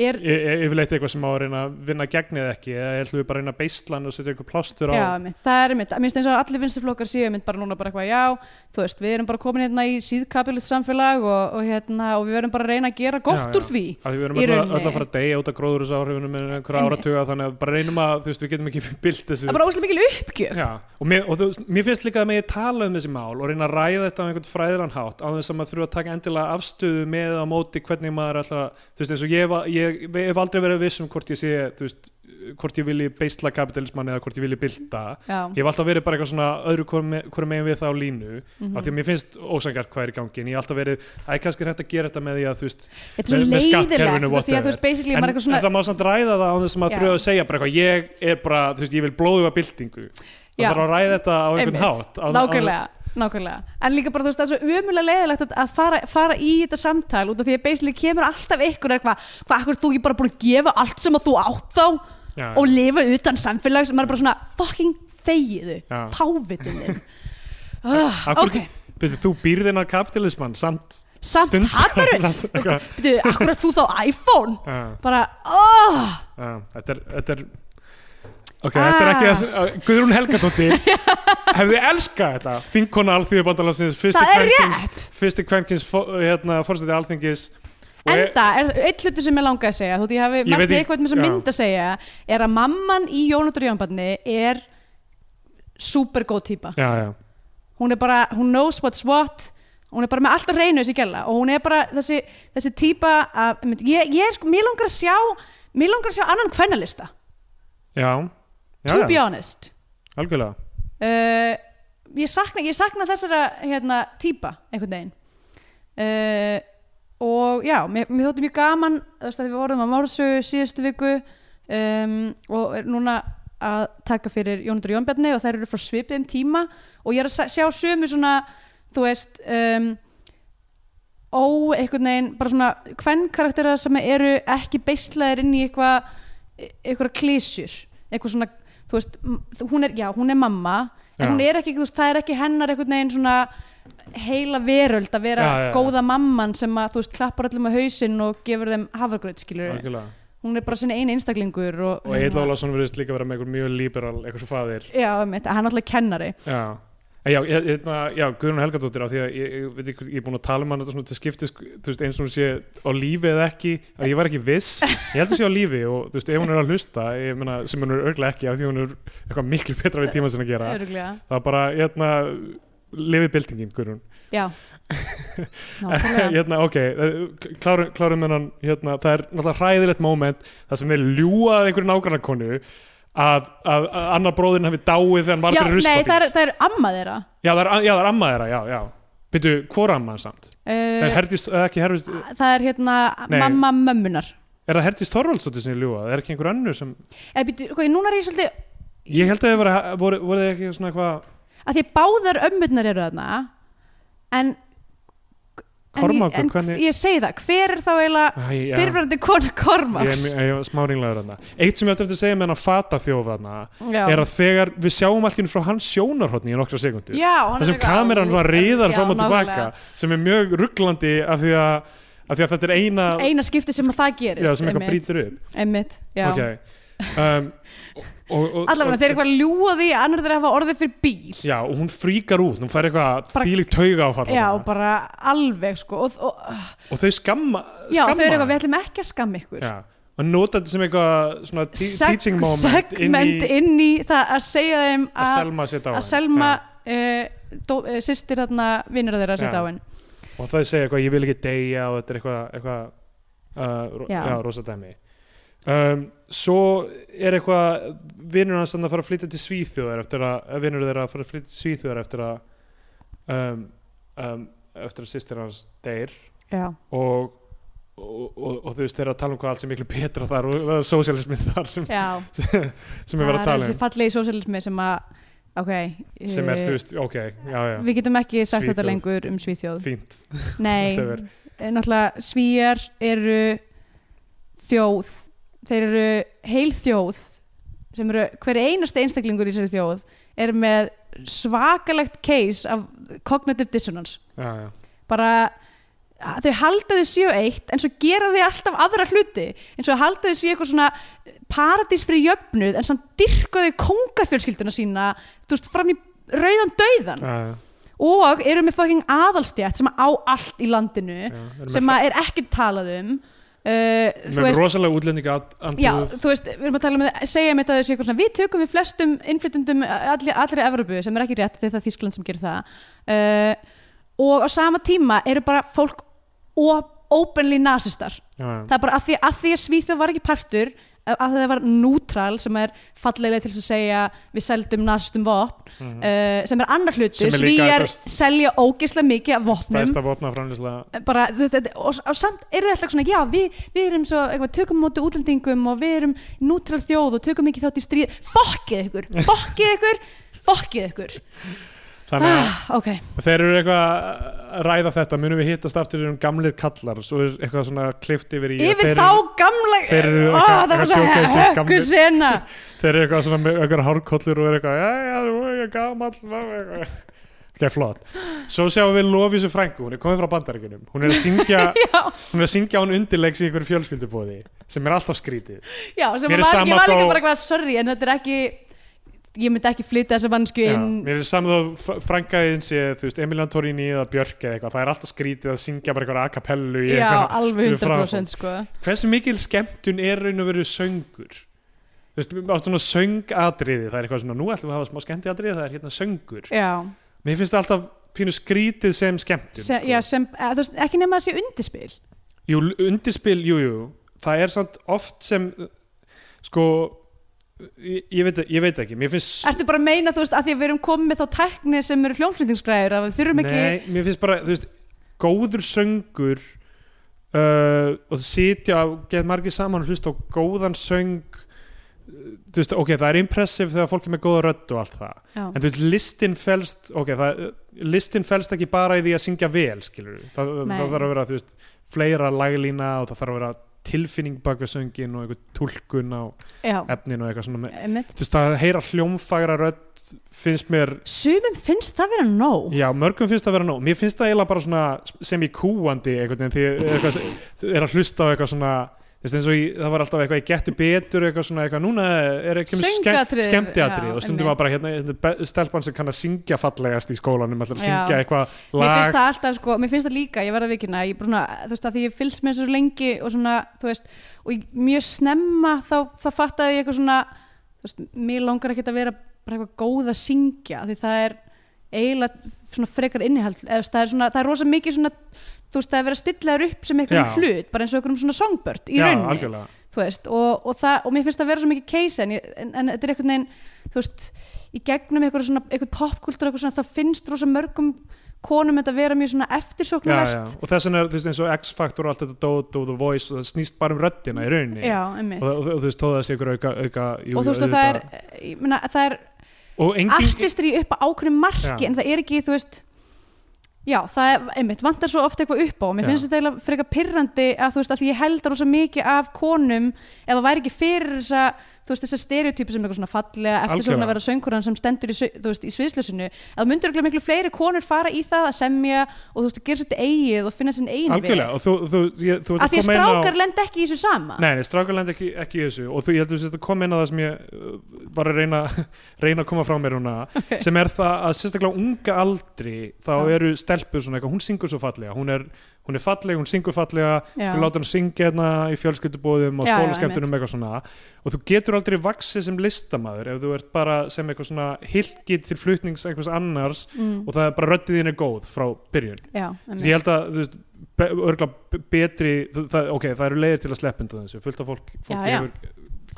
er, y- y- yfirleitt eitthvað sem á að reyna að vinna gegn eða ekki, eða ætlum við bara að reyna að beislan og setja eitthvað plástur á já, mitt, það er mitt, minnst eins og allir vinstiflokkar séu mitt bara núna bara eitthvað, já, þú veist, við erum bara komin hérna í síðkapilut samfélag og, og hérna, og við verum bara að reyna að gera gott Já, úr því. að við erum Í öll að, rauninni. öll að fara að deyja út af gróðurúsáhrifunum með einhverja Einmitt. áratuga þannig að bara reynum að, þú veist, við getum ekki bilt þessu Það er bara óslega mikil uppgjöf. Já, og, mér, og þú, veist, mér finnst líka að megi tala um þessi mál og reyna að ræða þetta á einhvern fræðilan hátt á þess að maður þurfa að taka endilega afstöðu með á móti hvernig maður alltaf þú veist eins og ég, hef- ég, ég, ég hef aldrei verið viss um hvort ég sé, þú veist hvort ég vilji beisla kapitalismann eða hvort ég vilji bilda Já, ég hef alltaf verið bara eitthvað svona öðru hverju megin við þá línu mhm. af því að mér finnst ósangart hvað er í gangi en ég hef alltaf verið, æ, kannski er hægt að gera þetta með því að þú veist, þetta er með- svo með skattkerfinu, leiðilegt, út af því whatever. að þú veist, basically, en, maður er eitthvað svona, en það má samt ræða það á þess að maður Já. þurfa að segja bara eitthvað, ég er bara, þú veist, ég vil blóðuga byltingu það Já. þarf að ræða þetta á einhvern Einmitt. hátt á, nákvæmlega nákvæmlega, en líka bara þú veist það er svo umulega leiðilegt að, að fara, fara í þetta samtal út af því að basically kemur alltaf ykkur eitthvað, hvað, hvað, þú ekki bara búin að gefa allt sem að þú átt þá á, já, og lifa utan samfélags, maður er bara svona fucking þegiðu, Já. páfitin þinn uh, Af hverju- ok, Byrju, þú býrð innan kapitalismann samt samt stund- hattar samt eitthvað. þú, akkur að þú þá iPhone Já, bara, oh, já, þetta er þetta er ok, þetta er ekki Ah. þess að Guðrún Helgadóttir hefði elskað þetta þinkona alþýðubandalansins Það er fyrsti kvenkins hérna, fórstætti alþingis Og e- ég- Enda, er, eitt hlutur sem ég langaði að segja þú veit ég hafi Ég veit margt ekki- eitthvað með sem já. mynd að segja er að mamman í Jónundur Jónbarni er super góð típa já, já, hún er bara, hún knows what's what hún er bara með alltaf reynu þessi gæla og hún er bara þessi, þessi típa að, einmitt, ég, ég er sko, mér langar að sjá mér langar að sjá annan kvennalista já, to be já, honest algjörlega uh, ég, sakna, ég sakna þessara hérna, típa einhvern veginn uh, og já, mér, mér þótti mjög gaman þú veist að við vorum á Mársu síðustu viku um, og er núna að taka fyrir Jónundur Jónbjarni og þær eru frá svipiðum tíma og ég er að sa- sjá sömu svona þú veist um, ó, einhvern veginn, bara svona hvern karakterar sem eru ekki beislaðir inn í eitthvað eitthvað klísjur, eitthvað svona þú veist, m- hún er, já, hún er mamma en Já. hún er ekki, þú veist, það er ekki hennar einhvern veginn svona heila veröld að vera Já, já, já. góða mamman sem að, þú veist, klappar öllum á hausinn og gefur þeim hafragröð, skilur algjörlega hún er bara sinni eini einstaklingur og, hérna. og Egil Ólafsson verðist líka vera með einhver mjög liberal eitthvað svo faðir já, mitt, hann er alltaf kennari já, en já, ég- hérna, já Guðrún Helgadóttir á því að ég, ég, veit ekki, ég er búin að tala um hann þetta svona til skiptis þú veist, eins og hún sé á lífi eða ekki að ég var ekki viss, ég heldur sé á lífi og þú veist, ef hún er að hlusta ég meina, sem hún er örglega ekki af því hún er eitthvað miklu betra við tíma sinna að gera öruglega, það er bara, hérna, lifið byltingin Guðrún, já nákvæmlega, hérna, ok eh, klárum, klárum hennan, hérna, það er náttúrulega hræðilegt moment, það sem þeir ljúað einhverju nágrannakonu að, að, að annar bróðin hafi dáið þegar hann var já, fyrir nei, ruslabíl það er, það er amma þeirra Já, það er, já, það er amma þeirra, já, já. Býtu, hvor amma er samt? uh, Er, Herdís, eða ekki, Herdís, það er hérna Nei. mamma mömmunar er það Herdís Þorvaldsdóttir sem ég ljúa? Er ekki einhver annu sem... eða býttu, Eh, ok, núna er ég svolítið Ég held að þið voru, voru, voru þið ekki svona eitthvað... að því báðar ömmurnar eru þarna en en Kormákur, ég, en hvernig- ég segi það, hver er þá eiginlega Æ, já. fyrirverandi kona Ég Kormáks er, ég er smáringlegaður þarna. Eitt sem ég átti eftir að segja með hann að fata þjóf þarna já. er að þegar við sjáum allt í henni frá hans sjónarhotni í nokkra sekundu. já, hann Það er sem eitthvað- kameran svona riðar Já, fram og nákvæmlega. tilbaka sem er mjög rugglandi af því að, af því að þetta er eina... eina skipti sem að það gerist Já, sem eitthvað einmitt, brýtur upp. einmitt já. Okay. Um, og, og, og, allavega þeir eru og- eitthvað ljúaði annar þeir hafa orðið fyrir bíl Já, og hún fríkar út, hún fær eitthvað Bara- þvílíkt tauga áfall já, og, bara alveg sko og, og, og þau skamma, skamma já, þau eru eitthvað, hana. við ætlum ekki að skamma ykkur já, og nota þetta sem eitthvað svona te- teaching Seg- moment inn segment í inn í það að segja þeim að að Selma setja á að hann. Selma uh, dó, uh, sýstir hérna vinnur þeirra að setja Já. á henn já, og þau segja eitthvað, ég vil ekki deyja og þetta er eitthvað, eitthvað uh, ro- Já. já, rosa dæmi um, svo er eitthvað vinnur hans þarna að fara að flytja til Svíþjóðar eftir að, vinnur þeirra að fara að flytja til Svíþjóðar eftir að um, um, eftir að sýstir hans deyr já, og, og, og, og þú veist þeir eru að tala um hvað allt er miklu betra þar og það er sósialismin þar sem, já sem við verðum að það er tala þessi um fallegi sósjálismi sem að ok, sem er eh, þú veist, ok, já já, við getum ekki sagt þetta Svíþjóð. lengur um Svíþjóð fínt nei, Whatever. eh, náttúrulega Svíjar eru þjóð þeir eru heil þjóð sem eru hver einasti einstaklingur í þessari þjóð er með svakalegt case af cognitive dissonance já, já. bara að þau halda þau séu eitt en svo gera þau alltaf aðra hluti eins og halda þau séu eitthvað svona paradís fyrir jöfnuð en samt dyrka þau kongafjölskylduna sína þú veist, fram í rauðan dauðan Já, já, og eru með fucking aðalstjætt sem á allt í landinu já. Erum sem með- að er ekkert talað um uh, Við erum rosalega útlendinga Já, andrúð þú veist, við erum að tala um að segja með þessu eitthvað svona, við tökum við flestum innflytundum allir, allir Evrópu sem er ekki rétt því það er Þískland sem gerir það uh, og á sama tíma eru bara fólk op- openly nasistar já, já. það er bara að því að, því að Svíþjóð var ekki partur að að það var nútral sem er falleglega til þess að segja við seldum nasistum vopn Mhm. uh, sem er annar hlutur, Sem er líka Svíjar þetta st- selja ógislega mikið af vopnum stæsta vopna framlýsla bara, þú veist, þetta- og, og samt eru þið alltaf svona já, við, við erum svo, eitthvað, tökum á móti útlendingum og við erum nútral þjóð og tökum ekki þátt í stríð, fokkið ykkur fokkið ykkur, fokkið ykkur þannig að ah, ok, þeir eru eitthvað að ræða þetta munum við hittast aftur um gamlir kallar svo er eitthvað svona klift yfir í að yfir þeir, þá gamla þeir eru Ó, eitthvað- það var eitthvað svo showcase sem höggu gamlir- sena þeir eru eitthvað svona með eitthvað hárkollur og er eitthvað já, já, þú er eitthvað gamall ok, flott svo sjáum við Lofísu frængu, hún er komið frá bandaríkunum hún er að syngja já, hún er að syngja án undirleiks í einhverju fjölskyldubóði sem er alltaf skrítið já, sem Mér er var ekki, sama var líka þó- bara eitthvað sorry, en þetta er ekki ég myndi ekki flytja þessa mannsku já, inn mér er saman þá frængaðin sé þú veist, Emilian Torini eða Björk eða eitthvað það er alltaf skrítið að syngja bara eitthvað akapellu já, alveg við framfór. 100% sko hversu mikil skemmtun er raun og veru söngur þú veist, á svona söngatriði það er eitthvað svona, nú ætlum við að hafa smá skemmtiatriði það er hérna söngur já, mér finnst það alltaf pínu skrítið sem skemmtun sko. Se, já sem, eh, þú veist, ekki nema að sé undirspil Jú, undirspil, jú, jú það er samt oft sem uh, sko ég, ég, veit, ég veit ekki, mér finnst Ertu bara að meina þú veist að því að við erum komið með þá tækni sem eru hljómsveitingskræður að við þurfum ekki Nei, mér finnst bara, þú veist, góður söngur uh, og þú sitja og get margir saman og hlusta á góðan söng uh, þú veist, ok, það er impressive þegar fólk er með góða rödd og allt það Já. en þú veist, listin felst ok, það, listin felst ekki bara í því að syngja vel, skilur við, það, það, Nei. þarf að vera þú veist, fleira laglína og það þarf að vera tilfinning bak við söngin og eitthvað túlkun á Já, efnin og eitthvað svona með, einmitt. þú veist, að heyra hljómfagra rödd finnst mér Sumum finnst það vera nóg Já, mörgum finnst það vera nóg. Mér finnst það eiginlega bara svona sem í kúandi einhvern veginn því er eitthvað, þið er að hlusta á eitthvað svona þú veist, eins og í, það var alltaf eitthvað ég getur betur eitthvað svona eitthvað núna er ekki Söngatriði, skemmtiatrið já, og stundum einmitt. var bara hérna, hérna be- stelpan sem kann að syngja fallegast í skólanum ætlar að Já. syngja eitthvað Mér finnst lag það alltaf sko, mér finnst það líka, ég verða vikina ég bara svona, þú veist að því ég fylgst með þessu svo lengi og svona, þú veist, og ég, mjög snemma þá, þá fattaði ég eitthvað svona þú veist, mér langar ekkert að vera bara eitthvað góð að syngja því það er eiginlega svona frekar innihald eða þú veist, það er svona, það er rosa mikið svona þú veist, það er verið að stilla þér upp sem eitthvað Já. hlut, bara eins og eitthvað svona songbird í Já, rauninni algjörlega. þú veist, og, og, það, og mér finnst það vera svo mikið case en, ég- en, en þetta er einhvern veginn þú veist, í gegnum eitthvað svona eitthvað popkultúr, eitthvað svona, þá finnst rosa mörgum konum þetta vera mjög svona Já, já. eftirsóknulegt og þess vegna er þú veist, eins og X-Factor og allt þetta Dót og The Voice og það snýst bara um röddina í rauninni já, og, einmitt og, og, og þú veist, þó það sé ykkur auka, auka jú, þú veist, og það er, ég meina, það er og engin, artistri upp á ákveðum marki Um Já. en það er ekki, þú veist já, það er, einmitt, vantar svo ofta eitthvað upp á og mér Já. finnst þetta eiginlega frekar pirrandi að þú veist, að því ég held að rosa mikið af konum ef það væri ekki fyrir þessa þú veist, þessa stereotypi sem eitthvað svona fallega eftir svona að vera söngkoran sem stendur í, sau- þú veist, í sviðslösinu að það myndur örugglega miklu fleiri konur fara í það að semja og þú veist, gera sér þetta eigið og finna sinn eigin algjörlega og þú, þú, ég, þú ert að því að koma inn á- strákar lend ekki í þessu sama Nei, nei strákarland ekki, ekki í þessu og þú, ég heldur að þetta kom inn á það sem ég uh, var að reyna, reyna að koma frá mér núna sem er það að sérstaklega á unga aldri þá Já. eru stelpur svona eitthvað, hún syngur svo fallega hún er, hún er falleg, hún syngur fallega Já. við láta hann syngja hérna í fjölskyldubóðum og Já, já, skólaskemmtunum eitthvað svona og þú getur aldrei vaxið sem listamaður ef þú ert bara sem eitthvað svona hilkið til flutnings einhvers annars mm, og það er bara röddið þín er góð frá byrjun já, Þú veist, ég held að þú veist, be- örgla b- betri þú- það, ok, það eru leiðir til að sleppa undan þessu fullt af fólk, fólk Já, já.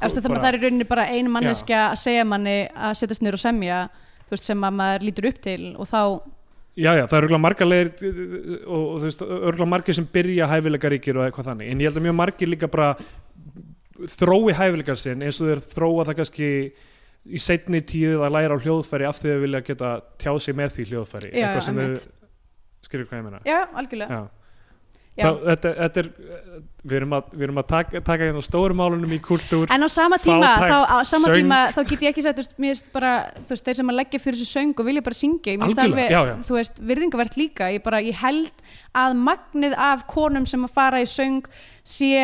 Eftir þannig að það er í rauninni bara ein manneskja að segja manni að setjast niður og semja þú veist, sem að maður lítur upp til og þá, já, já, það eru örgla margar leiðir og, og þú veist, örgla margir sem byrja hæfilega ríkir og eitthvað þannig en ég held að mjög margir líka bara þrói hæfilegar sinn eins og þeir þróa það kannski í seinni tíð að læra á hljóðfæri af því að vilja geta tjá sig með því hljóðfæri Já, já, eitthvað sem einmitt. þau skilur hvað ég meina já, algjörlega já. Já. Þá, þetta, þetta er, við erum að, við erum að taka, taka hérna stóru málunum í kultúr en á sama tíma, Fátækt, þá, á sama söng. tíma þá get ég ekki sagt, þú veist, mér finnst bara þú veist, þeir sem að leggja fyrir þessu söng og vilja bara syngja ég mér finnst Algjörlega, alveg, já, já. þú veist, virðingavert líka ég bara, ég held að magnið af konum sem að fara í söng sé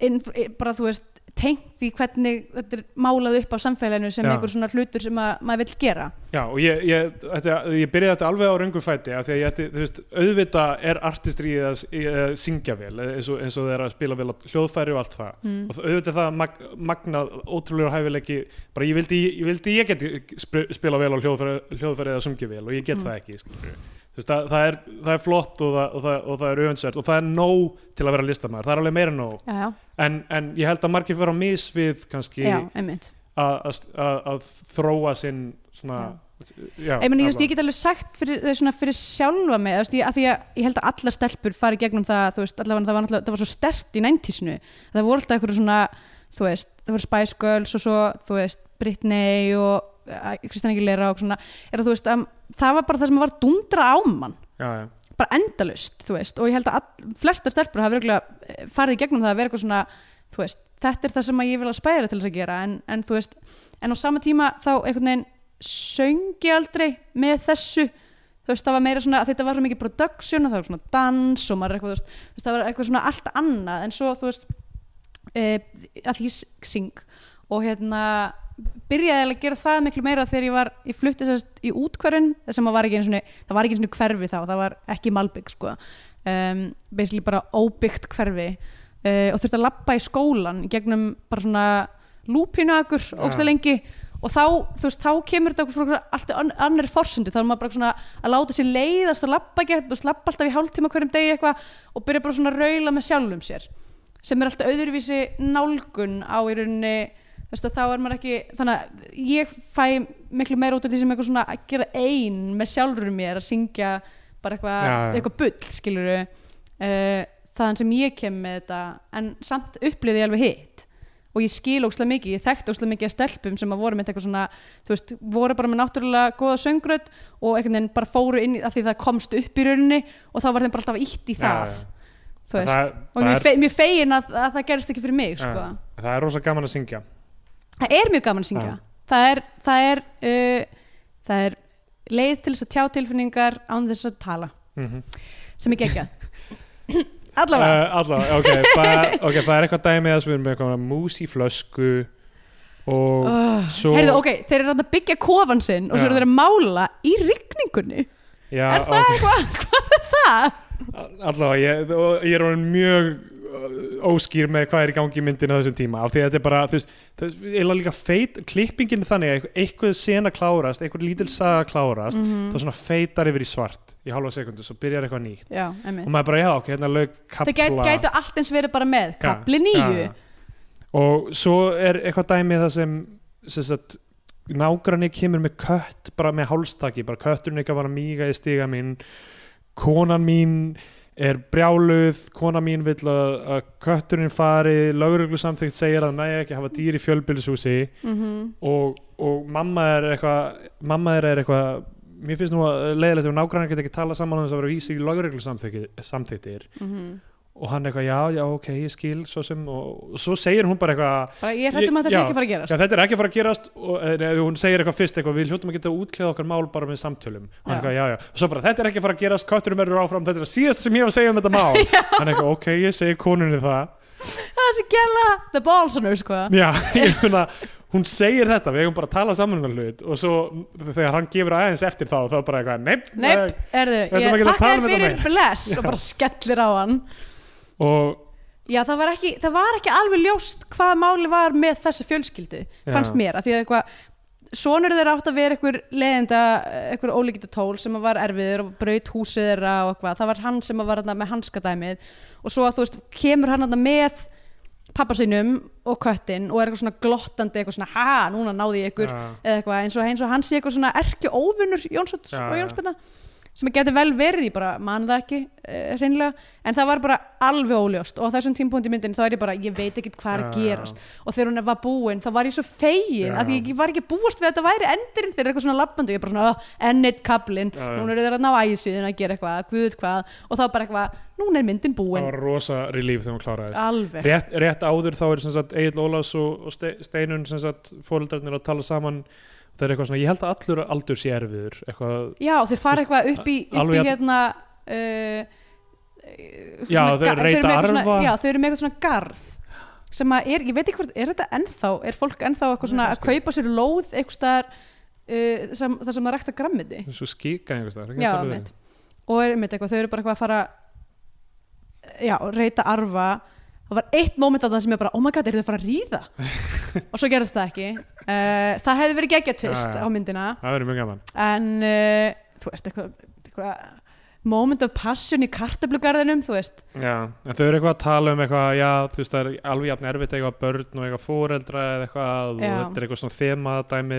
inn, bara, þú veist, tengt í hvernig þetta er málað upp á samfélaginu sem Já. einhver svona hlutur sem að maður vill gera Já, og ég, ég, þetta, ég byrjaði þetta alveg á röngum fæti af því að ég ætti, þú veist, auðvitað er artistri í að s- í að syngja vel eins og, eins og þeir eru að spila vel á hljóðfæri og allt það Mm. og auðvitað það mag, magnað ótrúlega hæfileiki, bara ég vildi ég vildi ég geti sp- spila vel á hljóðfæri, hljóðfæri eða sungja vel og ég get Mm. það ekki skilurðu. þú veist, það, það, er, það er flott og það, og það, og það er auðvinsvært og það er nóg til að vera listamæður, það er alveg meira en nóg já, já, en, en ég held að margir vera á mis við kannski já, að- einmitt að að- að þróa sinn svona Já, ég, meni, ég, allavega. veist, ég get alveg sagt fyrir, þú veist, svona, fyrir sjálfa mig þú veist, ég, að því að ég held að alla stelpur fari gegnum það, þú veist, allavega það var, náttúrulega- það var svo stert í næntísinu, það voru alltaf eitthvað svona þú veist, það voru Spice Girls og svo, þú veist, Britney og Kristján Aguilera og svona er að þú veist, um, það var bara það sem var dundra á mann, já, já. bara endalust þú veist, og ég held að all, flesta stelpur hafa örugglega, eh, farið í gegnum það að vera eitthvað svona þú veist, þetta er það sem að ég vil að spæra til þess að gera, en, en þú veist en á sama tíma þá einhvern veginn söngi aldrei með þessu þú veist það var meira svona að þetta var svo mikið production og það var svona dans og maður er eitthvað þú veist, þú veist það var eitthvað svona allt annað en svo þú veist e, að því ég syng og hérna byrjaði eiginlega að gera það miklu meira þegar ég var ég flutti sérst í útkverfin sem að var ekki einu svona, það var ekki einu svona hverfi þá það var ekki malbygg sko um, basically bara óbyggt hverfi uh, og þurfti að labba í skólan í gegnum bara svona lúpinuakur Ja. ógstlega lengi og þá, þú veist, þá kemur þetta okkur frá einhverju allt ann- annarri forsendu, þá er maður bara svona að láta sér leiðast og labba ekki þú veist, labba alltaf í hálftíma á hverjum degi eitthvað og byrja bara svona að raula með sjálfum sér sem er alltaf öðruvísi nálgun á í rauninni þú veist, að þá er maður ekki, þannig að ég fæ miklu meira út af því sem eitthvað svona að gera ein með sjálfur mér að syngja bara eitthvað, Já, já. eitthvað bull skiluru uh, þaðan sem ég kem með þetta en samt upplýði ég alveg hitt og ég skil ókslega mikið, ég þekkt ókslega mikið að stelpum sem að voru með eitthvað svona þú veist, voru bara með náttúrulega góða söngrödd og einhvern veginn bara fóru inn í- af því það komst upp í rauninni og þá var þeim bara alltaf ítt í það Já, þú En veist, það- og það mér, er- fe, mér fegin að, að það gerist ekki fyrir mig já. sko. Það er rosa gaman að syngja það er mjög gaman að syngja Já. það er, það, er, uh, það er leið til þess að tjá tilfinningar án þess að tala mm sem ég gegja allavega uh, Allavega, ok, það- ok Það er eitthvað dæmi að við erum með eitthvað mús í flösku og uh, Eh, svo heyrðu, ok, þeir eru þarna að byggja kofan sinn og svo Já. eru þeir að mála í rigningunni já, er það ok. eitthvað, hvað er það? Allavega, ég, og ég er orðin mjög uh, óskýr með hvað er í gangi í myndinu á þessum tíma af því að þetta er bara, þú veist, þú veist eiginlega líka feit, klippingin er þannig að eitthvað- eitthvað sena klárast, eitthvað lítil saga klárast Mhm. þá svona feitar yfir í svart í halva sekundu, svo byrjar eitthvað nýtt já, og emmi maður bara, já, ok, hérna lauk kapla Þeir gæt, gætu allt eins verið bara með Já, kapli nýju já, já. og svo er eitthvað dæmi það sem, sem sagt, nágranni kemur með kött bara með hálstaki, bara kötturinn eitthvað var að míga í stiga mín konan mín er brjáluð konan mín vill að, að kötturinn fari, lögreglu samþygt segir að næja ekki að hafa dýr í fjölbýlishúsi mm og, og mamma er eitthvað mamma er, er eitthvað mér finnst nú að leiðilegt ef nágrannar get ekki tala saman um þess að vera vísi í lögreglu samþyktir og hann eitthvað, já, já, ok, ég skil svo sem, og, og svo segir hún bara eitthvað bara ég hrættum að það sé Já, ekki að fara að gerast já, þetta er ekki að fara að gerast og eh, nei, hún segir eitthvað fyrst eitthvað, við hljóttum að geta útkleða okkar mál bara með samtölum og hann Já. eitthvað, já, já, og svo bara, þetta er ekki að fara að gerast kötturum verður áfram, þetta er það síðast sem ég hef að segja um þetta mál hann eitthvað, ok, ég segi konunni það þessi gæla the balls on her sko já, ég meina hún segir þetta, við hefum bara að tala saman um það hlut og svo þegar hann gefur aðeins eftir þá, þá bara eitthvað, neip, neip, erðu, ætlum ég ekki að þakka tala þér um þetta fyrir meir. bless og bara skellir á hann og já, það var ekki, það var ekki alveg ljóst hvað máli var með þessa fjölskyldu Já. fannst mér, af því að eitthvað sonur þeirra átt að vera einhver leðenda einhver ólíkita tól sem að var erfiður og braut húsið þeirra og eitthvað það var hann sem að var þarna með hanskadæmið og svo að þú veist, kemur hann þarna með pappa sinum og köttin og er eitthvað svona glottandi, eitthvað svona ha, núna náði ég ykkur ja, eða eitthvað eins og, eins og hann sé eitthvað svona erki óvinnur Jónsóts Já, og Jónsbyrna sem getur vel verið, ég bara man það ekki uh, reynlega, en það var bara alveg óljóst og á þessum tímpúndi myndin þá er ég bara ég veit ekki hvað er Já, að já, já. gerast og þegar hún var búin þá var ég svo fegin Já. af því ég var ekki að búast við að þetta væri endurinn þegar eitthvað svona lappandi, ég bara svona "Ah, enn eitt kablin, Já, já. núna eru þeir að ná ægisíðun að gera eitthvað, guð hvað og þá bara eitthvað, núna er myndin það búin var rosa relief þegar hún kláraði alveg, rétt, rétt áður þá er sem sagt Egil Ólafs og, og Ste- Steinun sem sagt fóreldrarnir að tala saman það er eitthvað svona, ég held að allur aldur sé erfiður eitthvað, já þau fara eitthvað upp í, upp alveg í jafn- hérna uh, Já, þau reyta arfa. já, þau eru með eitthvað svona garð sem að er, ég veit ekki hvort, er þetta ennþá er fólk ennþá eitthvað svona að kaupa sér lóð eitthvað staðar uh, sem, þar sem að rækta grammiti svo skika einhvers staðar, ekki já, talað við mitt. og er, mitt, eitthvað, þau eru bara eitthvað að fara já, reyta arfa það var eitt moment af það sem ég bara oh my god, eru þau að fara að ríða og svo gerðist það ekki uh, það hefði verið geggja Já, já. tvist á myndina það verður mjög gaman en uh, þú veist eitthvað, eitthvað moment of passion í kartablugarðinum þú veist, já. en þau eru eitthvað að tala um eitthvað já, þú veist, það er alveg jafn erfitt að eiga börn og eiga fóreldra eða eitthvað og Já. þetta er eitthvað svona þemadæmi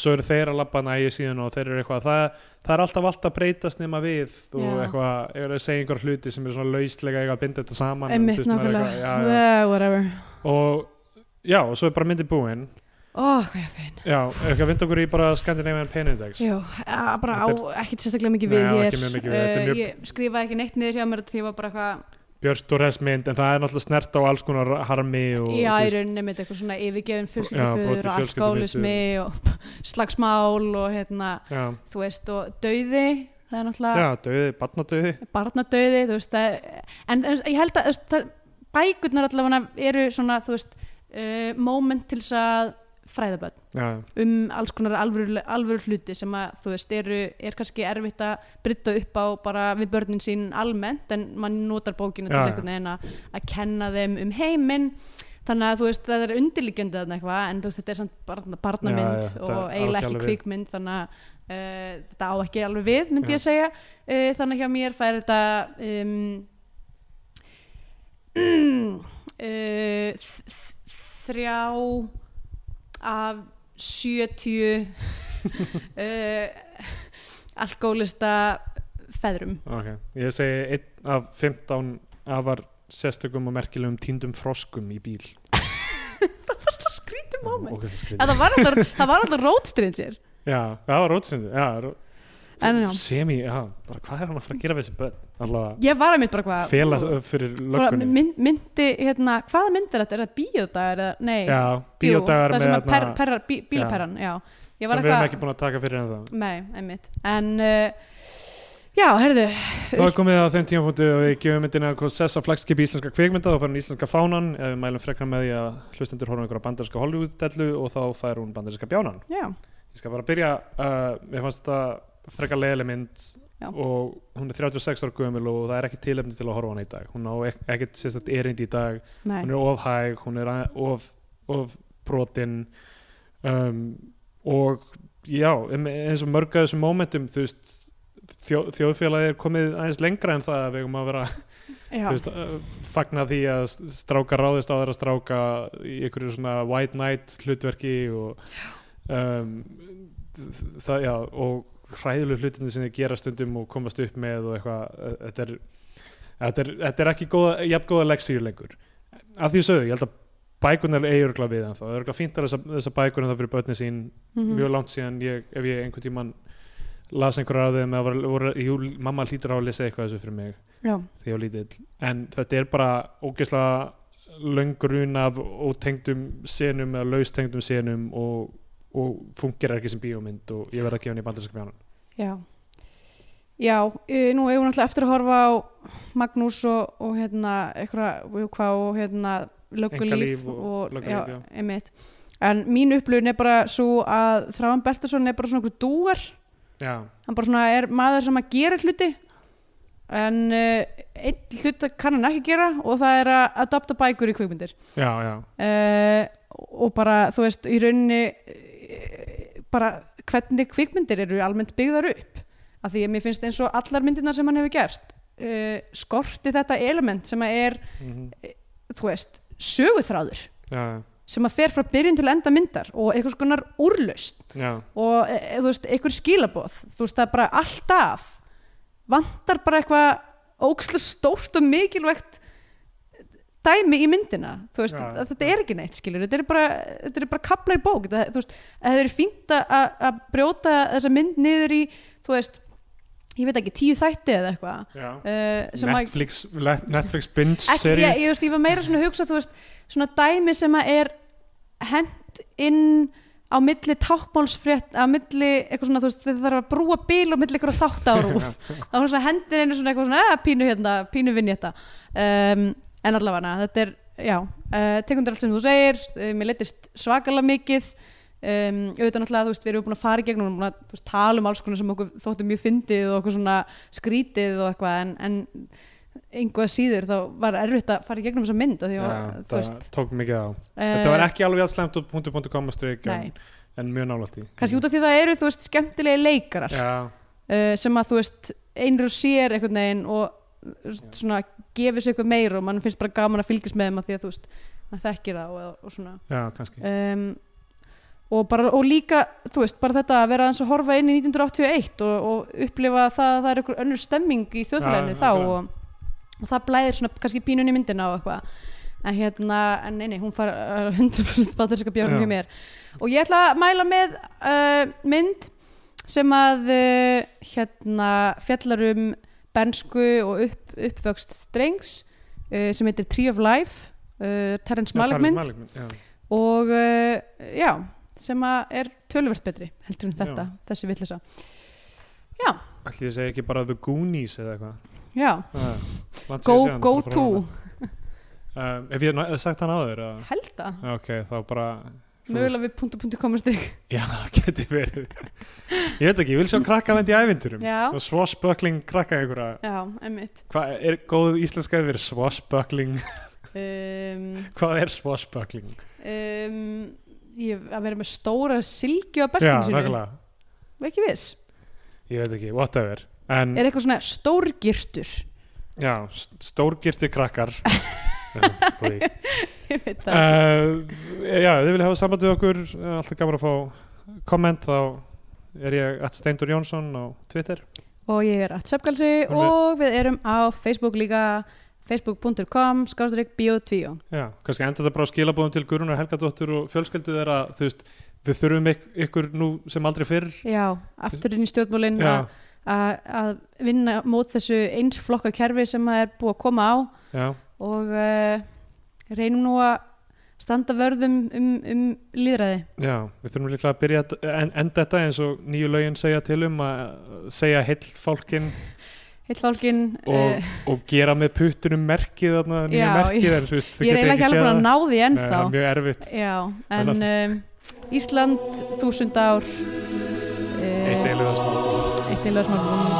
svo eru þeir að labba nægi síðan og þeir eru eitthvað það, það er alltaf allt að breytast nema við og Já. eitthvað, ég er að segja einhver hluti sem er svona lauslega eiga að binda þetta saman en þú einmitt veist, maður er nákvæmlega eitthvað, já, já. yeah, whatever og já, og svo er bara myndin búin ó, hvað ég finn já, er ekki að vinda okkur í bara Scandinavian Penindex Jú, að bara á, Þetta ekkit sérstaklega mikið Nei, við á hér ekki mjög mikið við, þetta er Eh, mjög- ég skrifaði ekki neitt niður hjá mér því ég var bara eitthvað Björt og resmynd, en það er náttúrulega snert á alls konar harmi og Já, þú í veist, rauninni með eitthvað svona yfirgefin Já, brotið fjölskylduföður og fjölskyldumynstur. alkoholismi og slagsmál og hérna, já, þú veist, og dauði, það já, er náttúrulega döði, barnadöði barnadauði, þú veist, það er, en, en ég held að þú veist, það, bækurnar allavega eru svona, þú veist, uh, moment til þess að fræða börn já, um alls konar alvöru, alvöru hluti sem að, þú veist, eru, er kannski erfitt að brytta upp á bara við börnin sín almennt, en mann notar bókina til Já, já. einhvern veginn að, að kenna þeim um heiminn, þannig að þú veist, það er undirliggjandi þarna eitthvað, en þú veist, þetta er samt barna, barnamynd Já, já, þetta á og ekki alveg eiginlega ekki við. kvikmynd, þannig að Uh, þetta á ekki alveg við, myndi Já. ég að segja uh, þannig að hjá mér fær þetta um, uh, þ- þ- þrjá af 70 uh, alkoholista feðrum ok, ég segi einn af 15 afar sérstökum og merkilegum týndum froskum í bíl það var svo skrítið moment og þetta En skriði það var alltaf, það var alltaf rótstrinsir já, það var rótsindu, já, ró- en já, semi, já, bara hvað er hann að fara að gera við þessi börn, allavega ég var að mynd bara hvað fela fyrir Bara löggunni mynd, myndi, hérna, hvaða mynd er þetta? Er það bíódagar eða, nei já, bíódagar Jú, það með sem að per, þarna- perra, bí, bílaperran, já, Ég sem var við erum eitthvað- ekki búin að taka fyrir en það Nei, einmitt En uh, já, herðu Þá er komið að þeim tímapunktu að við gefum myndina Sessa flagskipi íslenska kvikmynda þá fær hún íslenska fánan eða við mælum frekar með því að hlustendur horfum einhverja bandarska Hollywood-dellu og þá fær hún bandarska bjánan Já, Ég skal bara byrja, uh, mér fannst þetta frekar leiðileg mynd Já. og hún er 36 ára gömul og það er ekki tilefni til að horfa á hana í dag hún á ek- ekkert sérstætt erindi í dag nei, hún er ofhæg, hún er að- of, of brotin um, og já, em- eins og mörg af þessum momentum þú veist Þjó, þjóðfélagi er komið aðeins lengra en það að við erum að vera já, þú veist, uh, fagna því að stráka ráðist á þeirra stráka í einhverju svona white knight hlutverki og um, þ- það, já, og hræðilu hlutinni sem þið gera stundum og komast upp með og eitthvað uh, þetta er, þetta er, þetta er ekki góða, jafn góða leksíu lengur af því sögðu, ég held að bækunar eigi örgla við en það, það er örgla fínt að þessa, þessa bækur en það fyrir börni sín mhm. mjög langt síðan ég, ef ég einhvern tímann las einhverja að þeim að var, voru, jú, mamma hlýtur á að lesa eitthvað þessu fyrir mig já, þegar ég var lítill en þetta er bara ógeðslega löngurun af ótengdum senum eða laustengdum senum og, og fungerar ekki sem bíómynd og ég verð að gefa henni bandarinska bjánan já Já, eh, nú eigum við náttúrulega eftir að horfa á Magnús og, og hérna eitthvað, jú, hvað og hérna löggulíf Einkalíf og löggulíf, já, já. einmitt En mín upplifun er bara svo að Þráan Bertarsson er bara svona okkur dúar Já, hann bara svona er maður sem að gera hluti en uh, einn hlut kann hann ekki gera og það er að adapta bækur í kvikmyndir já, já, uh, og bara þú veist í rauninni uh, bara hvernig kvikmyndir eru almennt byggðar upp af því að mér finnst eins og allar myndirnar sem hann hefur gert uh, skorti þetta element sem að er mhm, þú veist söguþráður já, sem að fer frá byrjun til enda myndar og eitthvað skonar úrlaust já, og e, e, þú veist, einhver skilaboð þú veist, það er bara alltaf vantar bara eitthvað ókslega stórt og mikilvægt dæmi í myndina þú veist, Já, að, þetta já. er ekki neitt skilur þetta er bara, þetta er bara kapla í bók það, þú veist, að það er fínt að- að að brjóta þessa mynd niður í þú veist, ég veit ekki, tíu þætti eða eitthvað já. uh, sem að Netflix, le- Netflix binge ekki, seri ég, ég, veist, ég var meira svona að hugsa þú veist, svona dæmi sem að er hent inn á milli tákmálsfrétt á milli eitthvað svona þú veist það þarf að brúa bíl á milli eitthvað þátt á rúf þá var svona hendir einu svona eitthvað svona að, pínu hérna, pínu vinn þetta um, en allavega þetta er, já uh, tekundur allt sem þú segir, uh, mér leittist svakalega mikið um, auðvitað náttúrulega þú veist við erum búin að fara í gegnum og búin að, þú veist, tala um alls konar sem okkur þóttu mjög fyndið og okkur svona skrítið og eitthvað en, en einhvað síður þá var erfitt að fara í gegnum þessa mynd af því að Já, þú það veist eh, tók mikið á Þetta þetta var ekki alveg allslemt og punktu punktu komast en, Nei. en mjög nálægt í kannski út af því það eru þú veist skemmtilegi leikarar Já, uh, sem að þú veist einur og sér einhvern veginn og uh, svona gefur sér eitthvað meira og mann finnst bara gaman að fylgjast með þeim að því að þú veist mann þekkir það og, og svona já, kannski um, og, bara, og líka þú veist bara þetta að vera aðeins að horfa inn í 1981 og, og upplifa það að það er einhver önnur stemming í þjóðfélaginu Já, þá nákvæmlega. og, og það blæðir svona kannski pínun í myndina og eitthvað en hérna, en neini, hún far uh, 100% bátarska björnum Já. hjá mér og ég ætla að mæla með uh, mynd sem að uh, hérna fjallar um bensku og upp, uppvöxt drengs uh, sem heitir Tree of Life uh, Terrence Já, Malick Charles mynd Malick mynd, já. og uh, já, sem að er töluvert betri heldur en þetta, þessi villisa Ætli ég segi ekki bara The Goonies eða eitthvað já, Já, langt síðan go, síðan, go þetta er to frá hana. Um, Ef ég ná- sagt hann áður eða? held að, Já, Ok, þá bara mögulega við punktu punktu komast þig Já, það geti verið Ég veit ekki, ég vil sjá krakkavend í ævinturum Já. Og swashbuckling krakka einhverja já, emmitt Hvað er góð íslenska yfir swashbuckling? um, Hvað er swashbuckling? um, ég, að vera með stóra silki Já, á beltinu sínu, nefnilega ekki viss Ég veit ekki, whatever En er eitthvað svona stórgirtur já, st- stórgirtir krakkar Já, boy. ég veit það ekki. Uh, Já, ef þið vilja hafa samband við okkur eh, Alltaf gaman að fá komment Þá er ég at Steindur Jónsson á Twitter og ég er að söpkalsi Hún er- og við erum á Facebook líka facebook.com skástrík bio2 Já, kannski enda þetta bara á skilabóðum til Gurunar Helgadóttur og fjölskyldu þeirra Þú veist, við þurfum yk ykkur nú sem aldrei fyrr já, afturinn í stjórnmálin að Já, að að vinna mót þessu einsflokka kerfi sem að er búið að koma á já, og uh, reynum nú að standa vörðum um, um líðræði já Við þurfum líklega að byrja að en- enda þetta eins og nýju lögin segja til um að segja heill fólkin heill fólkin og, uh, og gera með puttunum merkið þarna, nýja Já, merkið ég- en þú veist, þau ég er geta eiginlega ekki alveg séð búin að það. ná því Nei, það ennþá er mjög erfitt, já, Það en um, Ísland þúsund ár eitt uh, eilið að smá eitt eilöðsmál